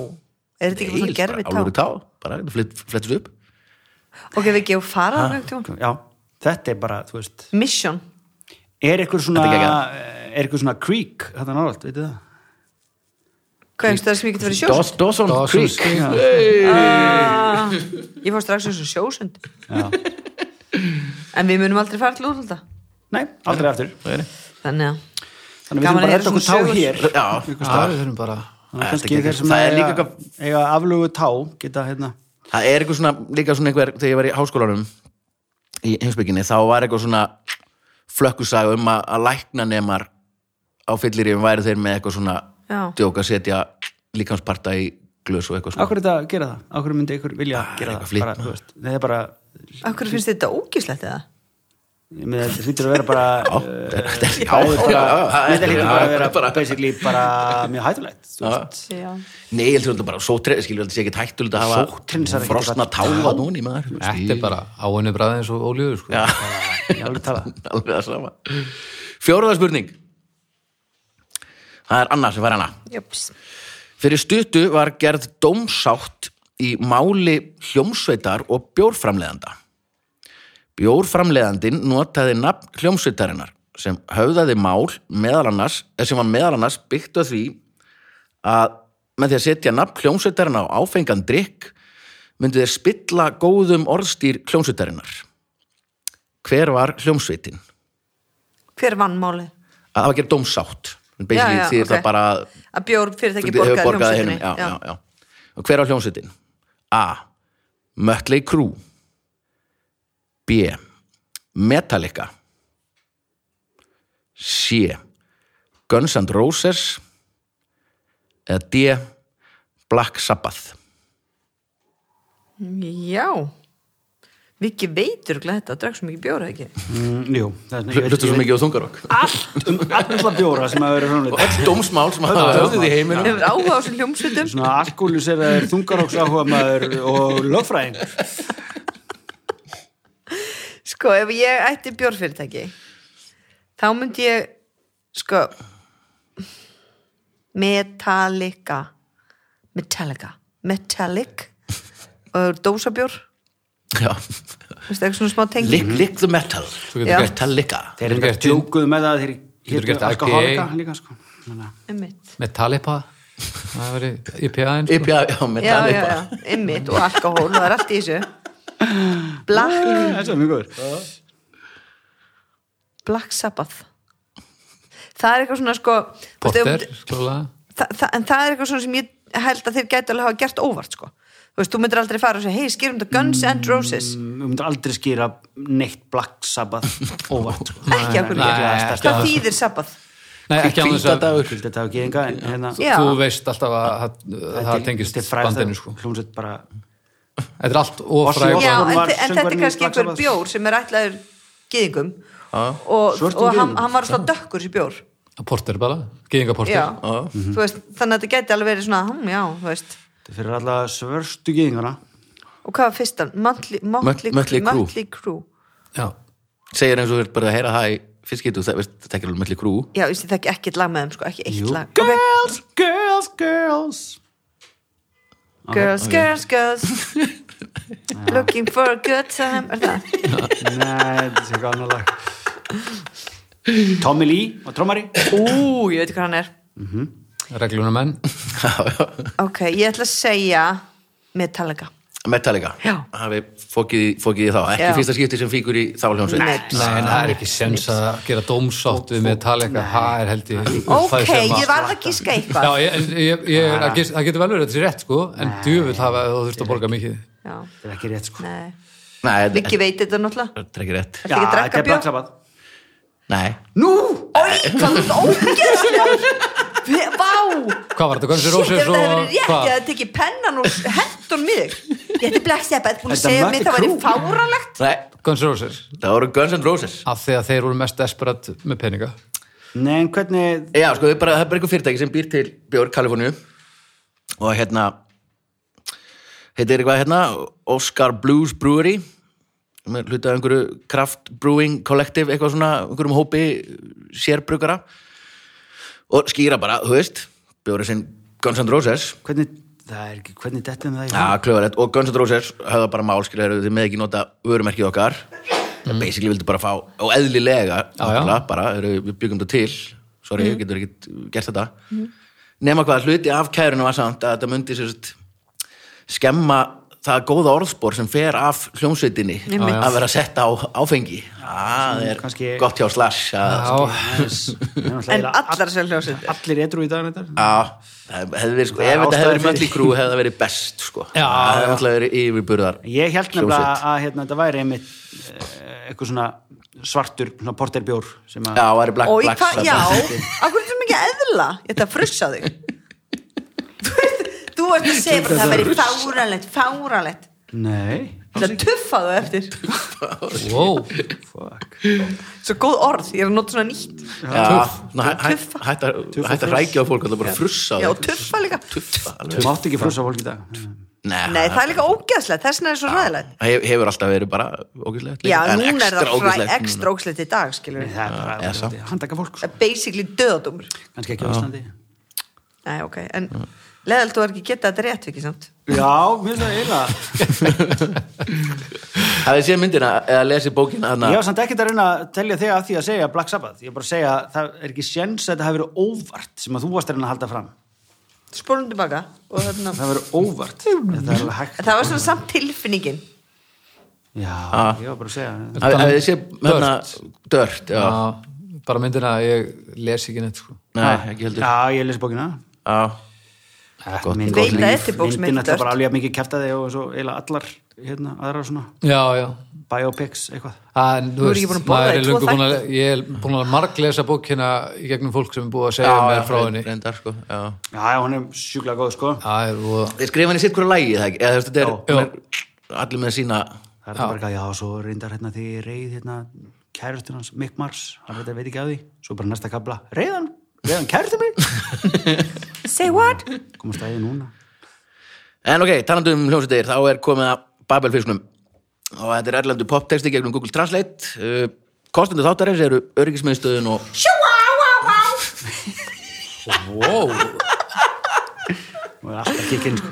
er þetta ekki bara
Nei,
svona gerfi
bara alveg tá, bara þetta flett- flettist upp
ok, við gefum fara á einhvern tímann.
sko. Já, þetta er bara, þú veist
mission
Er eitthvað svona,
Þetta er
er eitthvað svona creek þetta nálægt, veitu það?
hvað er það sem ég geti verið sjósund? Ah.
Daws- Dawson Creek
Dawson's Creek.
ég fór strax eins og sjósund (laughs) en við munum aldrei fara til útlanda
Nei, aldrei aftur
þannig að
Þannig við
Gaman
þurfum bara
að
að redda okkur
heyra svona
tá
sögur.
hér
Já,
Já, við þurfum bara
Þannig
Þetta
kannski
er
þeir
ekki-
sem
það er
eiga,
líka
eiga aflögu tá geta hérna
Það er eitthvað svona, líka svona einhver, þegar ég var í háskólanum í heimsbygginni, þá var eitthvað svona flökkusag um að, að lækna nemar á fylliríum væri þeir með eitthvað svona
Já.
djók að setja líkansparta í glös og eitthvað svona.
Akkur þetta gera það, akkur myndi ykkur vilja gera
Ah, eitthvað
það
flip,
bara,
maður.
þú veist, Nei, það er bara
okkur finnst þetta ógíslegt eða?
Með þetta hlýtur að vera bara
Já, þetta er- já,
Það er bara,
já,
þetta hlýtur
já,
bara að
já,
vera
bara-
basically bara mjög hættulegt þú veist.
já
Nei, ég heldur þetta bara sótrins, skilur þetta sé ekki hættulegt að
Sótthreinsar
hafa
er ekki
frosna
bara-
táa núni maður.
Þetta er bara áinu bræðið eins og ólíður sko.
Já, (laughs)
Ég alveg tala
alveg það sama. Fjóraða spurning. Það er Anna sem fær hana.
Jöps.
Fyrir stuttu var gerð dómsátt í máli hljómsveitar og bjórframleðanda. Bjórframleðandin notaði nafn hljómsveitarinnar sem höfðaði mál meðal annars, eh, sem var meðal annars byggt á því að með því að setja nafn hljómsveitarinnar á áfengan drikk myndi þeir spilla góðum orðstýr hljómsveitarinnar. Hver var hljómsveitin?
hver vann málið?
Að það var gerð dómsátt. Basically
Já, já,
þýðir það
ok.
bara að
að bjór fyrirtæki
Hefur
borgaði
borgað
hljómsveitinni
hinum, já, já, já. og hver á hljómsveitin? A. Mötley Crew B. Metallica C. Guns N' Roses eða D. Black Sabbath
já Viki veitur glæði þetta, drekk svo mikið bjóra ekki
Mm, Jú, það er
Hlustu svo mikið á þungarokk
um alla bjóra sem að vera
(laughs)
svona
Öll dómsmál sem hafa höfðið í heiminum
Hefur áhuga á þessum hljómsveitum
svona alkoholis er það þungaróks áhuga maður og lögfræðing
Sko, ef ég ætti bjórfyrirtæki þá myndi ég sko Metallica Metallica Metallic og dósabjór
Já.
veistu, eitthvað svona smá tengi
Lick, lick the metal
Svo getur
Já.
gert
Metallica
þeir eru
Getur
ekki
gert gin.
djókuð með það þeir
Getur
hétu
gert IPA.
alkoholika líka sko Þannig að-
Einmitt.
Metallipa Það veri IPA eins sko.
IPA, já,
Já, já,
Metallica
já, ymmit og alkohól og það er allt í þessu Black
þetta er mjög góður
Black Sabbath það er eitthvað svona sko
Porter,
veistu,
skóla
það, það, en það er eitthvað svona sem ég held að þeir gæti alveg hafa gert óvart sko þú veist, þú myndir aldrei fara og segja hei, skýrum þetta Guns and Roses
við myndum Mm, aldrei skýra neitt Black Sabbath óvart sko.
ekki okkur
nei,
ekki,
ekki
það
alveg.
þýðir Sabbath
Nei, ekki án þess að
Hvíldadagur.
Hvíldi þetta á geringa en hérna
Já.
þú veist alltaf að það- það tengist bandinu sko.
Hljómsveit bara
Þetta er allt
Ozzy
ofræg
Já, en,
Osbourne var
þi- en þetta er
söngvarinn í
kannski
Black
einhver
Sabbath.
bjór sem er ætlaður gýðingum
Já.
og,
Svörtum
og hann,
gyðingum.
hann var svona dökkur sér bjór
Porter bara, geðingaporter
já, þú veist, þannig að þetta gæti alveg verið svona hm, já, þú veist
þetta er fyrir alla svörstu gýðinguna
og hvað var fyrstan? Mötli,
Möt-
mötli,
Mötley Crüe.
mötli krú
Já.
segir eins og þú ert bara að heyra það í fyrst getur það, veist, það er ekki alveg melli krú
já, ég sé það ekki ekkert lag með þeim sko, ekki eitt
Jú.
lag okay.
Girls, girls, girls
girls,
(laughs)
girls, girls looking for a good time
(laughs)
er það?
Nei, þetta er eitthvað annar lag Tommy Lee og trommari
ú, ég veit hvað hann er
regluna menn
ok, ég ætla að segja Metallica
Metallica,
Já.
hafi fókið, í- fokið í þá ekki
Já.
fyrsta skipti sem fíkur í þá hljómsveit
Nei.
Nei, en það er ekki sens að gera dómsátt við Metallica, það er held ég það
ok,
sem að-
ég varð að gíska
Já,
eitthvað
ég, en ég, ég, er að gis- það getur vel verið að þetta sé rétt sko, en djöfull hafa þú þurft að borga mikið
já,
Þetta er ekki rétt sko
nei
Nei, þetta-
Viki veit þetta náttúrulega
þetta er ekki rétt
Ertu ekki að drekka
þetta er
bjór?
Black Sabbath
Nei,
Nú,
(laughs)
Ve- Vá,
Hvað var þetta, Guns N'
shit,
Roses
ef það
og
hefur verið rétt
hvað?
Ég hefði tekið pennan og hendun mig Ég hefði Black Sabbath búin að
Þetta
segja
Mötley
mér það væri
Crüe.
fáralegt
nei,
Guns N' Roses,
það voru Guns N' Roses
af því að þeir voru mest desperat með peninga
nei, en hvernig
Já, sko, það er bara, það er bara eitthvað fyrirtæki sem býr til Björg Kaliforníu og hérna heitir eitthvað hérna Oscar Blues Brewery sem er hluta af einhverju Craft Brewing Collective, eitthvað svona einhverjum hópi sérbrukara og skýra bara, þú veist Björg sinn Guns N' Roses
hvernig, það er ekki, hvernig dettum það í hug?
Já, klöðarett og Guns N' Roses höfða bara málskilja þið með ekki nota vörumerkið okkar mm. basically vildu bara fá og eðlilega
Já,
náttúrulega, bara, eru, við byggum þetta til sorry, mm. getur ekki gert þetta nema hvað hluti af kærunum var samt að þetta myndi sérst skemma það góða orðspor sem fer af hljómsveitinni
Einmitt.
að vera sett á áfengi það er
kannski-
gott hjá slash að,
Sko,
Já,
En
En
allar sem hljóðsyndir
Allir edru í dag þetta
Já, það hefði verið sko,
Það er
ef þetta hefði
ástæða
verið
fyrir-
mölli krú hefði það verið best sko,
Já,
það hefði
já.
alltaf verið yfirburðar
Ég held nefnilega
hljómsveit.
að hérna, þetta væri einmitt eh, eitthvað svona svartur svona porterbjór sem að
Já, það er black,
Og í
black
hvað, já,
Sabbath.
af hverju sem ekki að eðla Ég ætla að frussa þig Þú veist, Þú veist að segja bara að það væri fáralegt, fáralegt
Nei,
Það tuffa þú eftir Oh,
wow
fuck
Svo góð orð, ég er að nota svona nýtt
(laughs) Já, svona hæ- hæ-
Tuffa.
hætta hætta
Tuffa
að
fruss.
hrækja á fólk og það bara frussa á
Já,
þig.
og tuffa líka
Tuffa,
Þú
alveg
mátt ekki frussa fólk í dag
Nei, það er líka ógeðslegt, þess vegna er svo ræðilegt
Það hef- hefur alltaf verið bara ógislegt
Já, núna er það fræ- ekstra ógeðslegt í dag, skilur við
Það er
eða
bara
samt.
handaka fólk sko.
Basically döðadómur
Kannski ekki á Íslandi
Nei, ok, en leðalt þú er ekki getað þetta rétt, ekki samt?
Já, mér finnst það eiginlega
Það er séð myndina eða lesið bókina
Ég
þarna
var samt ekkert að reyna að telja þig að því að segja Black Sabbath, ég er bara að segja að það er ekki séns að þetta hafi verið óvart sem að þú varst að reyna að halda fram
Spólum tilbaka og þarna
það hafi verið óvart það er alveg hægt
Það var svona samt tilfinningin
Já,
Ah.
ég var bara að segja
Það er séð hérna dört Já,
Já, Ah, bara myndina að ég les ekki neitt sko.
nei, ekki heldur Já,
Já, ég lesi bókina
Gott-
Mynd-
Ég veit að
líf.
þetta er bók sem heitir
Myndin ætla
Dirt.
bara alveg jafn mikið kæftaði og svo eila allar hérna, aðra svona
Já, já
biopics eitthvað
Ah, En, þú
Nú er ég búin að borða
maður
í
er
tvo
löngu búin að,
þætti.
ég er búin að marglesa bókina í gegnum fólk sem er búið að segja mér frá henni
reyndar sko já.
Já, já, hún er sjúklega góð sko
Það er og
Þeir skrifa henni sitt hverju lægi það ekki Eða þú veist, þetta er,
Já.
hún er allir með sína
Það er bara eitthvað, já, svo reyndar hérna því reyð hérna kærustur hans, Mick Mars hann veit, veit ekki að því, svo bara næsta kabla reyðan, reyðan kærustur mig
Say what?
komast að því núna
En ok, talandu um hljómsveitir, þá er komið að Babelfiskunum og þetta er erlendu poptexti gegnum Google Translate uh, Kostendur þáttarins eru öryggismiðstöðun og
Wow,
og er alltaf kikinn sko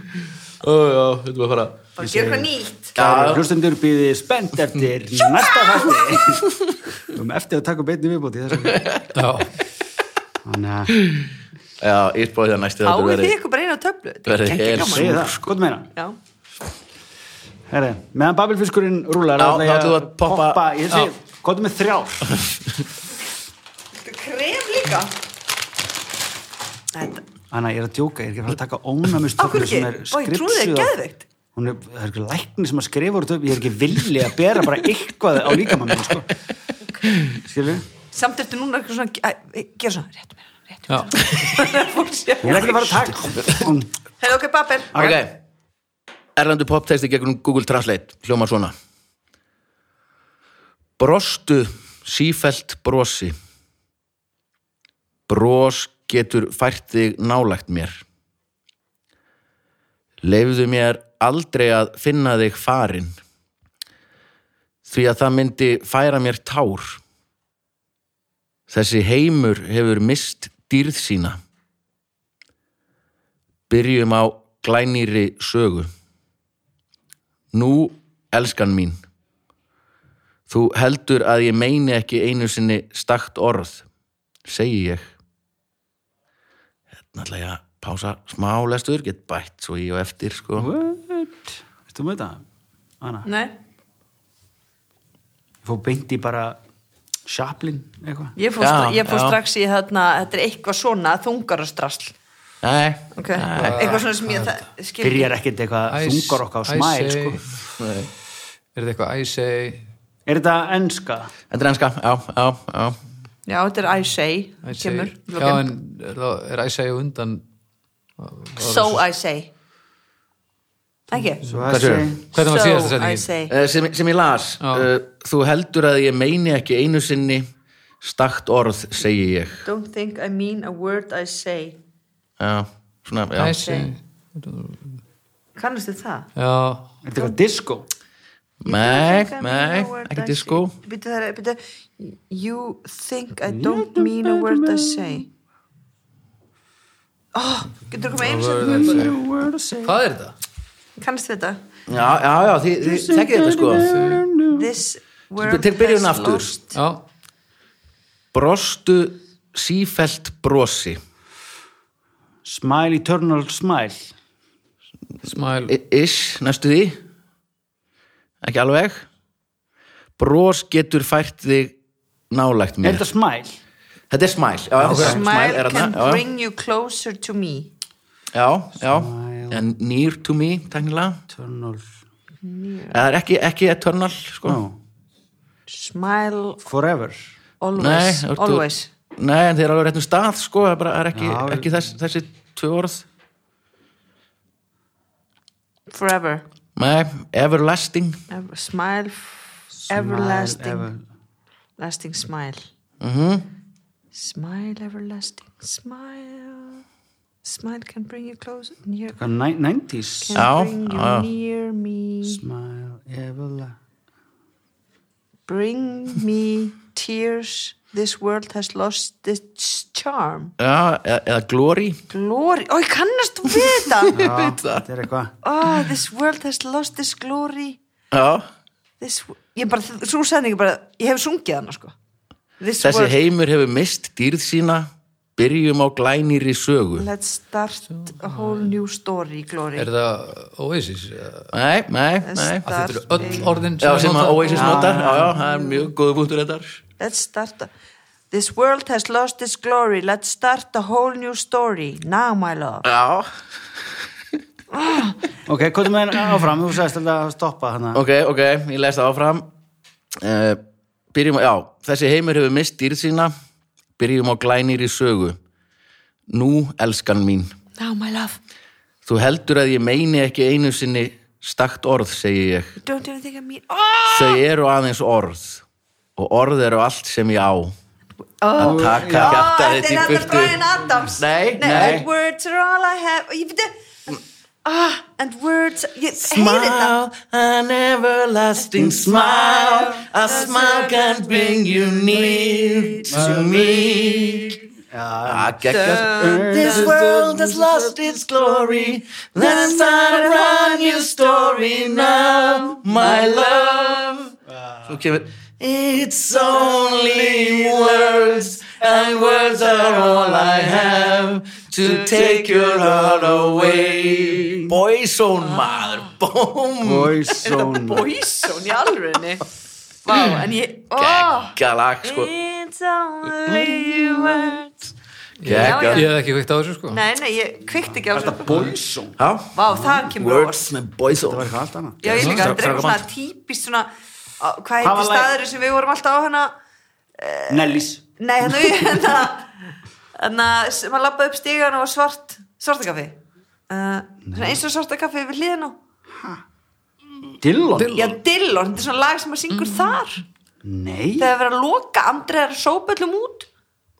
Ó, já, þetta var bara
Bara gera eitthvað nýtt
Kæru hlustundur býði spennt eftir næsta þætti um eftir að taka beinni viðbóti þannig
já,
að
Já, ég spáði það næstu þáttur
Háið
verði-
þið ykkur bara inn á töflu Þetta er
verði
ekki
hel-
gaman.
segja það, gott meina
Já,
Herre, meðan Babelfiskurinn rúlar
Já,
ætla ég
þá ætlum við að poppa-
ég segi, gott með þrjár
Þetta er kref líka Þetta,
Hanna, ég er að djóka, ég er ekki að fara að taka ónamist
Af hverju ekki? Ó, ég trúði þér geðveikt.
Hún er, það er ekki lækni sem að skrifa úr töf, ég er ekki villi að bera bara eitthvað á líkamann minn, sko. Skilur?
samt eftir núna er eitthvað svona Æ, Gera svona, rétt mér rétt
Já.
(laughs)
Ég er ekki að fara að taka
Hefðu okkur Babel
Ok, Erlendu poptexti gegnum Google Translate hljómar svona Brostu sífelt brosi Bros getur fært þig nálægt mér Leifðu mér aldrei að finna þig farin Því að það myndi færa mér tár Þessi heimur hefur mist dýrð sína Byrjum á glænýri sögu. Nú, elskan mín, þú heldur að ég meini ekki einu sinni stakt orð, segi ég. Hérna ætla ég að pása smá lestur, get bætt svo ég og eftir, sko.
What? Veistu um þetta? Anna,
Nei,
ég fór beint í bara Chaplin eitthvað
ég fór,
Já,
stra ég fór
já.
strax í þarna Þetta er eitthvað svona þungarastrasl
Nei,
okay. Eitthvað svona sem ég það- skil
Byrjar ekkert eitthvað
I-
þungar okkar á
I
smæl
say-
sko.
Er þetta eitthvað I say
Er þetta enska?
þetta er enska, já, já, já.
Já, þetta er I say,
I say
kemur
Já, en er, þá- er I say á undan
So I say Ekki?
Svo
Hvað
að
segirðu?
segja-
Hvernig var síðasta
So I
setningin?
say
Eh, Sem, sem ég las,
Já.
uh, þú heldur að ég meini ekki einu sinni stakt orð, segi ég.
Don't think I mean a word I say
Já, svona, já.
I say
Kannastu það?
Já,
Er þetta eitthvað disco?
Nei,
Think I mean
nei,
a word
ekki
I
disco
say. Bíddu, það er- bíddu. You think I don't mean a word I say Oh, getur komið einu sem
hvað er þetta?
Kannast við þetta?
Já, já, já, þið, þið þekkið þetta sko
This word
Til byrjun
has
aftur.
lost-
Já,
Brostu sífelt brosi
Smile Eternal Smile
smile
I- Ish, næstu því Ekki alveg Bros getur fært þig nálægt
Er
mér
þetta smile?
Þetta er smæl Já, já, smæl
Smile
er
can
þarna,
bring you closer to me
Já, já, já En near to me, teknilega
Eternal
Það er ekki, ekki eternal sko
no.
Smile
Forever
Nei,
always
ertu-
Always
Nei, en þeir eru alveg réttum stað sko, það er bara það er ekki,
Já.
ekki þess, þessi tvö orð
Forever
Nei, everlasting
Ever- Smile f-
Smile,
Everlasting
ever-
Lasting smile
Mm-hmm.
Smile everlasting Smile Smile can bring you closer near,
Hvað, ni- 90s
Can
Já,
bring you
já.
near me
Smile Everlasting
Bring me tears This world has lost its charm
Já, eða, eða glory
Glory, ó ég kannast við
(laughs)
þetta
veit það.
Þetta er eitthvað
oh, This world has lost its glory
Já,
this, Ég bara, svo setningu bara Ég hef sungið hana sko This
þessi
world,
heimur hefur mist dýrð sína byrjum á glænýri sögu
let's start a whole new story Glory
Er þetta Oasis? Að
Nei, nei, nei
Start
Þetta eru öll orðin
Já, sem að
nota-
Oasis notar, já, já, það er mjög góðu punktur þetta
Let's start. A, this world has lost its glory. Let's start a whole new story. Now, my love.
Já,
Ok, hvað er með áfram? Þú sagðist alltaf að stoppa hana
ok, ok, ég les það áfram uh, Byrjum, á- já, þessi heimur hefur mist dýrð sína byrjum á glænýri sögu Nú, elskan mín
Now, my love.
þú heldur að ég meini ekki einu sinni stakt orð, segi ég
Don't even think of me. Oh!
Þau eru aðeins orð og orð eru allt sem ég á að taka hjarta
þetta
þitt í
er þetta
burtu
Brian Adams.
Nei, nei.
And words are all I have. Ég veit að... Ah, and words... Ég heyri þetta.
Smile, an everlasting smile A smile can bring you near to me Ah, geggjað. This world has lost its glory Let's start a brand new story now My love Svo kemur It's only words And words are all I have To take your heart away Boyzone maður Bóm
Boyzone
Boyzone í alvörinni. Vá, en ég... Oh,
Galag Mm. sko
it's only words.
Gekka
Ég hef ekki veikt á þessu sko
Nei, nei, ég kvikti ekki á þessu.
Boyzone
Já
Vá, það kemur óvart.
Words með boyzone
Það var eitthvað allt annað
Já, ég
Stra-
líka, þetta er eitthvað
strákamál.
svona típist svona, á, hvað
Hvað
heitir
var lagið?
staðurinn sem við vorum alltaf á hana,
Nellis
nei, hérna, við- hérna, þannig að s- maður lappaði upp stígan og var svart svartakaffi uh, svona eins og svartakaffi við hliðin á
Dillon?
já, Dillon, þetta er svona lag sem maður syngur
Mm.
þar
Nei,
þegar það er verið að loka, Andrið er að sópa öllum út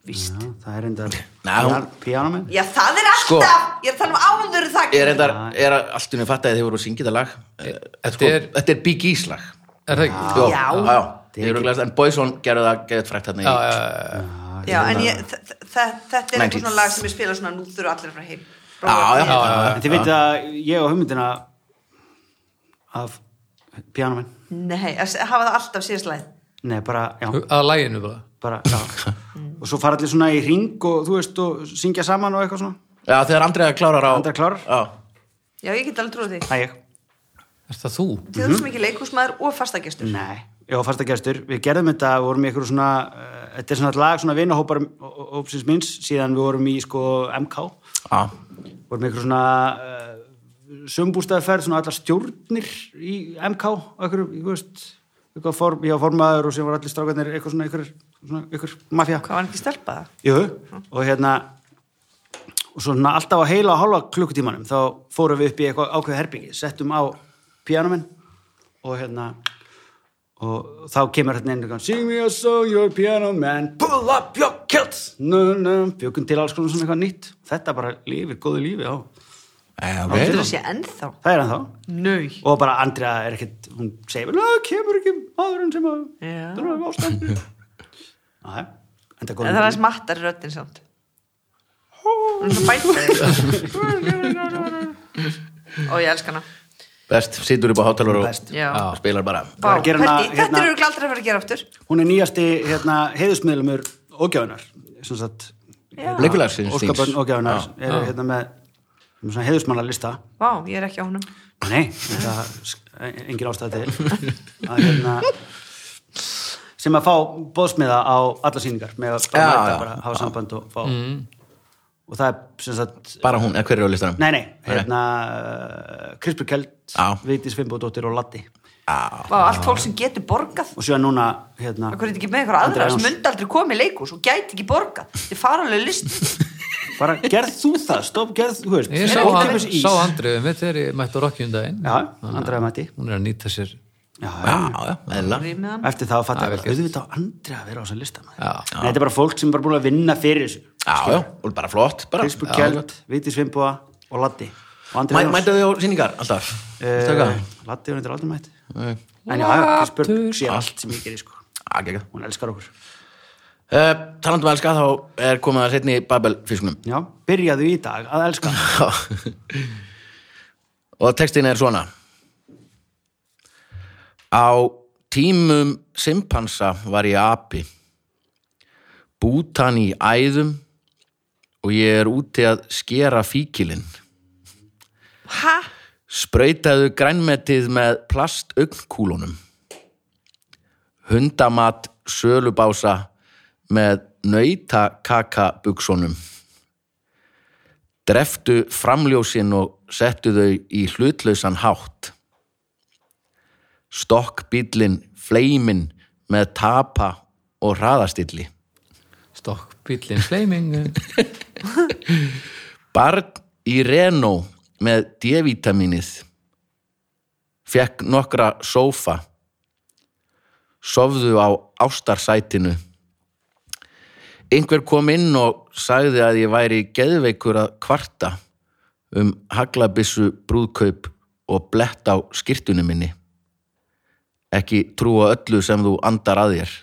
víst,
Já, það er enda
Nei, hún-
Pianomenn?
já það er alltaf
Sko.
ég er að tala um áður það
Ég er reyndar, er að- allt unni fatt að þið voru að syngja þetta lag Þetta, sko,
er-
þetta er Big E's lag
er það ekki?
Jó,
Já.
já, já. Ég er örugglega- En Boyson gerði það geðið frækt þarna í
Já, já, já,
já, en ég, þ- þ- þ- þetta er
90s.
eitthvað svona lag sem ég spila svona nú þurfa allir frá heim
já, já, já.
En þið veit að ég á hugmyndina af pianomenn
nei, að s- hafa það alltaf síðast lagið
Nei, bara, já,
já. að læginu bara
bara, já Og svo fara allir svona í ring og þú veist og syngja saman og eitthvað svona
Já, þegar Andrea klárar á
Andrea klárar?
Já,
já, ég get alveg trúið því
Æ, ég
Er það þú?
Þið erum svo mikið leikhúsmaður og fastagestur
Nei, já, fasta gestur, við gerðum þetta, við vorum í einhverju svona, uh, þetta er svona lag, svona vinahópar hópsins minns, síðan við vorum í sko MK,
já,
vorum í einhverju svona uh, sömbústæðferð, svona allar stjórnir í MK, og einhverju, þú veist, eitthvað form, já, formaður og sem voru allir strákarnir, eitthvað svona, einhverjur, svona, einhver mafja.
Hvað var hann ekki stelpa það?
Jú, og hérna, og svona alltaf á heila og hálfa klukkutímanum, þá fórum við upp í eitthvað ákveð herbyggi, settum á pianomenn og hérna, og þá kemur hérna einhvern veginn sing me a song your piano man pull up your kilts no, no, bjökum til alls konar svona eitthvað nýtt þetta bara lifir, góðu lífi á.
Eh, ok
Þetta sé ennþá
það er hann þá
Nau
og bara Andrea er ekkert, hún segir vel, "Á, kemur ekki maðurinn sem að
Já.
það er ástæður
(laughs)
en það er
En það er aðeins mattar röddinn samt Hún er svo bæta Og ég elska hana
Best, situr upp á hátalur og
Best.
Já.
og spilar bara
Vá,
Bara gera hana,
Patti, Þetta
hérna-
eru örugglega aldrei að vera að gera aftur
hún er nýjasti hérna, heiðusmiðlumur ógjáðunar sem sagt
Leikfélagsins þíns.
Óskabönn ógjáðunar
Já.
Ah.
eru hérna með með svona heiðusmannalista
Vá, ég er ekki á honum
nei, þetta er engin ástæði til að hérna sem að fá bóðsmiða á alla síningar með að bara
Já,
mæta
já.
bara hafa samband og fá
Mm.
og það er sem sagt
Bara hún, eða hver er á listanum?
nei, nei, hérna uh, Krispur Kjeld,
Já.
Vigdís Fimboðdóttir og Latti
Vá, allt fólk sem getur borgað
og síðan núna hérna
Akkur er þetta ekki með einhver aðra
Andrea
sem
Jóns.
myndi aldrei komið leikhús og gæti ekki borgað Þetta er faralega (laughs) list
bara gerð þú það, stopp, gerð, þú veist
Ég sá,
ókeypis
hann,
ís.
sá Andriðu mitt þegar ég mætti á Rocky um daginn
Já, Andrea mætti.
Hún er að nýta sér Já,
Já,
Já, já, eðla
Rímið hann
eftir það fattar
Það er
ég
vel
bara, auðvitað á andri að vera á þessum lista maður.
Já.
Nei, þetta er bara fólk sem er bara búin að vinna fyrir þessu
Já, já, og bara flott bara.
Krispur Kjeld, Viti Svimboa og Latti og Andri
Mæ,
Jóns.
Mætaðu þið á síningar alltaf? Veistu
Eh,
hvað?
Latti er reyndar aldrei mætt
Nei.
en já, já, Krispur
Latur.
sé allt sem ég gerir sko.
Á, geggjað.
hún elskar okkur
Ah, Eh, Talandi um elska þá er komið að setni Babelfiskunum
já, byrjaðu í dag að elska
og textin er svona Á tímum simpansa var ég api bútan í æðum og ég er úti að skera fíkilinn
Ha?
Sprautaðu grænmetið með plastugnkúlunum. Hundamat sölubása með nautakakabuksunum. Dreftu framljósin og settu þau í hlutlausan hátt. Stokkbíllinn, fleimin með tapa og hraðastilli.
Stokk, bíllinn, flaming
Barn í Renault með D-vitaminið fekk nokkra sófa sofðu á ástarsætinu einhver kom inn og sagði að ég væri geðveikur að kvarta um haglabissu brúðkaup og blett á skirtunni minni ekki trúa öllu sem þú andar að þér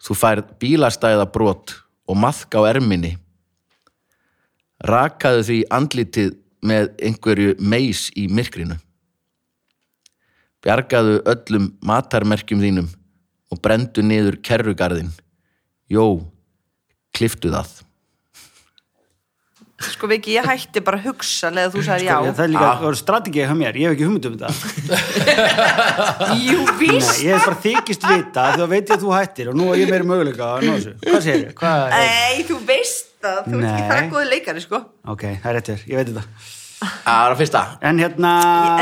þú færð bílastæðabrot og maðk á erminni rakaðu því andlitið með einhverju meis í myrkrinu. Bjargaðu öllum matarmerkjum þínum og brendu niður kerrugarðin. Jó, kliftu það.
Sko Viki, ég hætti bara að hugsa leða þú sagðir
Sko, Ég, það
já
er líka, það eru strategið hjá mér, ég hef ekki hugmynd um þetta
Jú, víst
Nei, ég hef bara þykist vita því að veit ég að þú hættir og nú er ég meiri möguleika að ná þessu. hvað segir ég, hvað er
Nei, þú veist það, þú ert ekki
Nei.
það góði leikari sko
ok, það er réttir, ég veit þetta
Það er að fyrsta.
En hérna,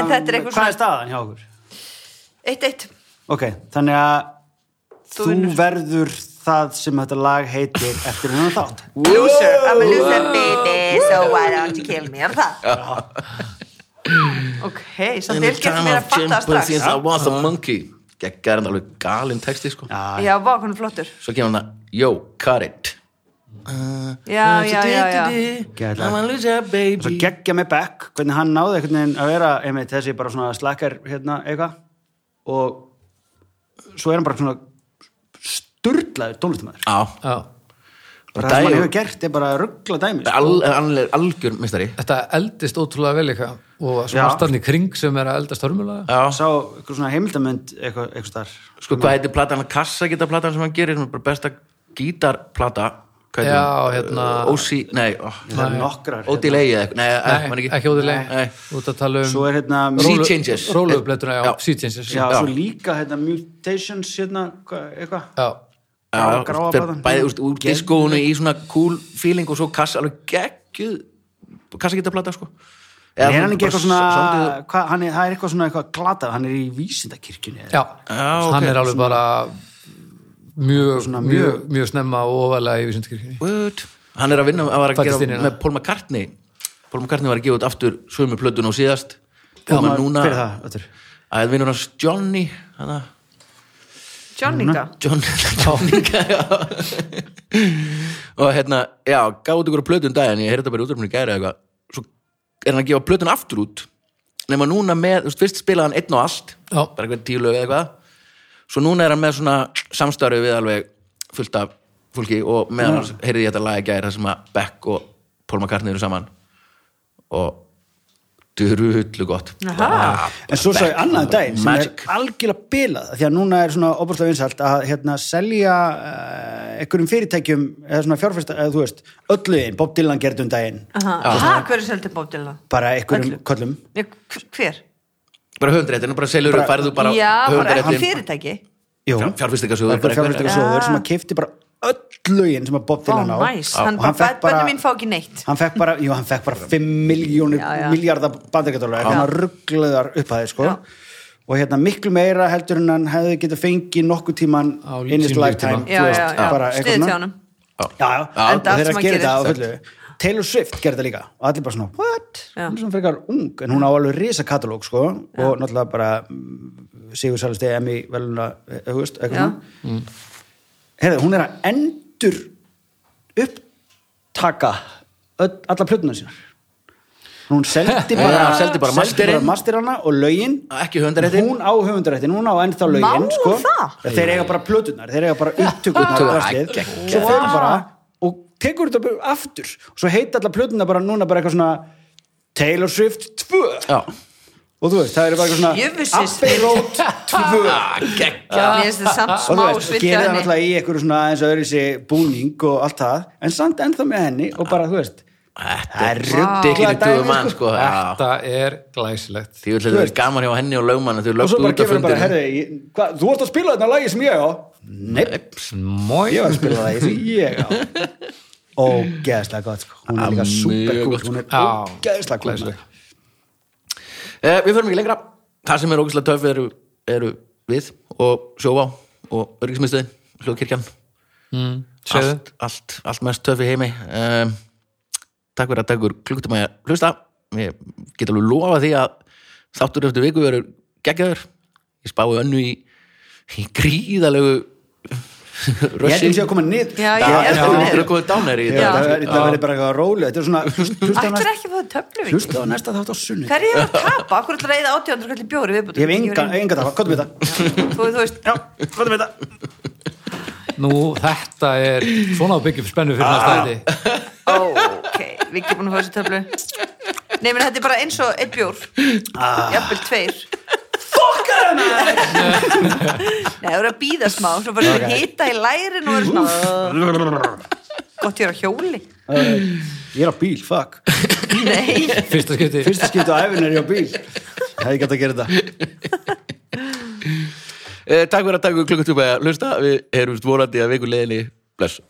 En þetta er
hvað
eitthvað svona-
er staðan hjá okkur?
Eitt, eitt
Ok, þannig að þú,
Þú vinnur.
verður það sem þetta lag heitir eftir hennar þátt
Loser, I'm a loser baby So why don't you kill me Er það? Ok, samt er ekki mér að fatta það strax
since I was a monkey geggar hann alveg galinn texti sko
Já, vá, hann er flottur
svo kemur hann að yo, cut it Ah,
Já, já, já, já
Geðveikt
I'm a loser
svo
baby
geggja með Beck hvernig hann náði einhvern veginn að vera einmitt þessi bara svona slakkar hérna eitthvað og svo er hann bara svona sturlaður tónlistamæður
á,
Já.
bara það sem hann
dægur-
hefur gert er bara ruggla dæmi sko.
al, al, algjör mistari
Þetta eldist ótrúlega vel eitthvað og smartarni kring sem er að eldast hörmulega
já,
sá eitthvað svona heimildamönd eitthvað, eitthvað starf
sko hvað heitir platan kassa geta platan sem hann gerir sem er bara besta gítarplata hvað heitir
Já,
hún?
hérna-
Uh, Ósi, nei, ó,
það er nokkrar hérna.
Óti Leigi eða eitthvað, nei,
Nei,
man
ekki óðilega
Nei.
Út að tala um
svo er hérna
Sea
rólu-
Changes.
Róluuppbletuna, já,
Já.
Sea Changes
já,
Já,
svo líka hérna Mutations hérna hvað- eitthvað
Já,
Gráa- gráa
fer
platan.
bæði úst, úr
Geðveik.
diskónu í svona cool feeling og svo kassa alveg geggjuð kassa geta plata sko
En er hann ekki
bara
eitthvað svona,
soundið-
hvað, hann er, það er eitthvað svona eitthvað glata, hann er í vísindakirkjunni. eða-
já.
Já, ok.
Hann er alveg bara mjög,
Svona
mjög, mjög snemma og ofalega í vísindkirkjunni
What? hann er að vinna hann var að
Fæddist
gera
inn í hana.
með Paul McCartney Paul McCartney var að gefa út aftur sömu plötun og síðast
Já,
og
maður-
núna
hver er það, öttur?
að vinur hans Johnny hana,
Johnninga
John, Johnny já. og hérna já, gaf út ykkur plötun daginn ég heyrði þetta bara í útverfnum í gæri eitthvað svo er hann að gefa plötun aftur út nema núna með, þú veist, fyrst spilaði hann einn og allt
Já.
bara eitthvað tíu lög eða eitthvað svo núna er hann með svona samstarfi við alveg fullt af fólki og meðan hans heyrði ég þetta lag í gæri þar sem að Beck og Paul McCartney eru saman og drullu gott
Aha.
En svo svo ég annaðan dag sem
Magic.
er algjörlega bilað, því að núna er svona opaslega vinsalt að hérna selja uh, einhverjum fyrirtækjum, eða svona fjárfesta, eða þú veist, ölluðin, Bob Dylan gerði um daginn,
Hæ, hver er seldi Bob Dylan?
bara einhverjum
Öllum.
köllum.
Ég- hver- Hver?
bara höfundréttin, bara selur
Bara-
færðu bara
Já, bara ekki
höfundréttin.
fyrirtæki
Jú,
Fjár- fjárfestingarsjóður, bara
bara
eitthvað.
fjárfestingasjóður sem að kifti bara ölluðin sem að Bob
Ó,
Dylan á.
næs, hann
Og
bara,
fékk
bæ- bönni mín fá ekki neitt
hann fekk bara, jú, hann fekk bara 5 miljónir,
Já, já.
miljardar bandaríkjadólar hann var rugglaðar upphæði, sko
Já.
og hérna miklu meira heldur en hann hefði getið fengið nokkuð tíman
Á
in his
sínum
lifetime þú
líftíma.
Já, já,
veist,
já,
bara eitthvað
sniðið
svona.
til honum
já, já,
Já.
og
Enda allt
þeir
sem
að
hann
gera þetta á
gerir.
fullu Taylor Swift gerði þetta líka og allir bara svona, what?
Já.
hún er svona frekar ung en hún á alveg risa katalóg, sko og náttúrulega bara mm, Sigur Sælusti, Emmy, Veluna, þú veist, eitthvað
Já.
svona
Mm.
heyrðu, hún er að endur upptaka öll, alla plötuna sína hún seldi
Já,
bara,
seldi bara masterinn.
masterana og lögin
Ekki höfundaréttinn.
hún á höfundaréttin, hún á ennþá lögin
Má
sko.
það?
Ja, þeir eiga bara plötunar, þeir eiga bara upptökurnar
Upptökur,
og draslið.
æ, geggjað.
svo fer hún bara og tekur þetta bara aftur og svo heita alla plötunar bara núna bara eitthvað svona Taylor Swift 2
Já.
og þú veist, það er bara eitthvað
Jöfusis.
svona Abbey Road 2
Ah, geggja.
Mér finnst þetta samt
og þú
(laughs) smá
veist,
svilt
gerir það náttúrulega í einhverju svona eins og öðru búning og allt það en samt ennþá með henni og bara, þú veist
Þetta
það
er
er
ruggdikinu
ruglað
dögum
dæmi,
mann sko Já.
Þetta er glæsilegt
Því vil þetta verið gaman hjá henni og lögmann Þau
og svo
lögstu
bara
út af
gefur hann bara,
fundinu
herði, ég- hvað, þú ert að spila þarna lagi sem ég á nepp, ég var
Mói
að spila það sem
(laughs)
ég á ógeðslega gott sko. hún er líka
mjög
superkúl
gott, sko.
hún er
Já,
ógeðslega kúl
glæsileg.
Eh, Við förum ekki lengra Það sem er ógæslega töff eru, eru við og sjóvá og örgismiðstöðin hljóðkirkjan
Mm. Segðu
allt, allt, allt mest töff í heimi um, Takk fyrir að takkur klukkutum að hlusta Ég get alveg lofa því að þáttur eftir viku verður geggjaður Ég spái önnu í, í
(laughs)
gríðalegu
ég held
rössi
um sig að koma niður
Já, ég
Já, þetta
er það
er
niður.
okkur að góða dánæri í
Ég-
þetta.
það verður það verður bara eitthvað rólega þetta er svona, hlust- hlusta á
Ættir
næsta-
ekki að fá töflum ekki
hlusta á næsta þátt á sunni
Hverju er að tapa? Akkur ætlar að reyða 800 kallir bjóri viðbútt
ég hef enga, enga tafa, kottum við það
Þú þú veist,
já, kottum við það
Nú, þetta er svona á byggjum spennu fyrir
Ah.
næsta þetta
ok, við ekki búin að fá þessu töflu Nei, menn þetta er bara eins og eitt bjór
Ah.
Jafnvel tveir Fuck Nei, þú eru að býða smá Svo bara
Ok.
hita í lærin og verður smá Gott ég er á hjóli
ég er á bíl, fuck
Nei,
Fyrsta skipti
fyrsta skipti á æfinn er ég á bíl hefði gætt að gera þetta
Eh, Takk fyrir að taka klukkutíma að hlusta. Við erum stvorandi að viku leðinni. Bless.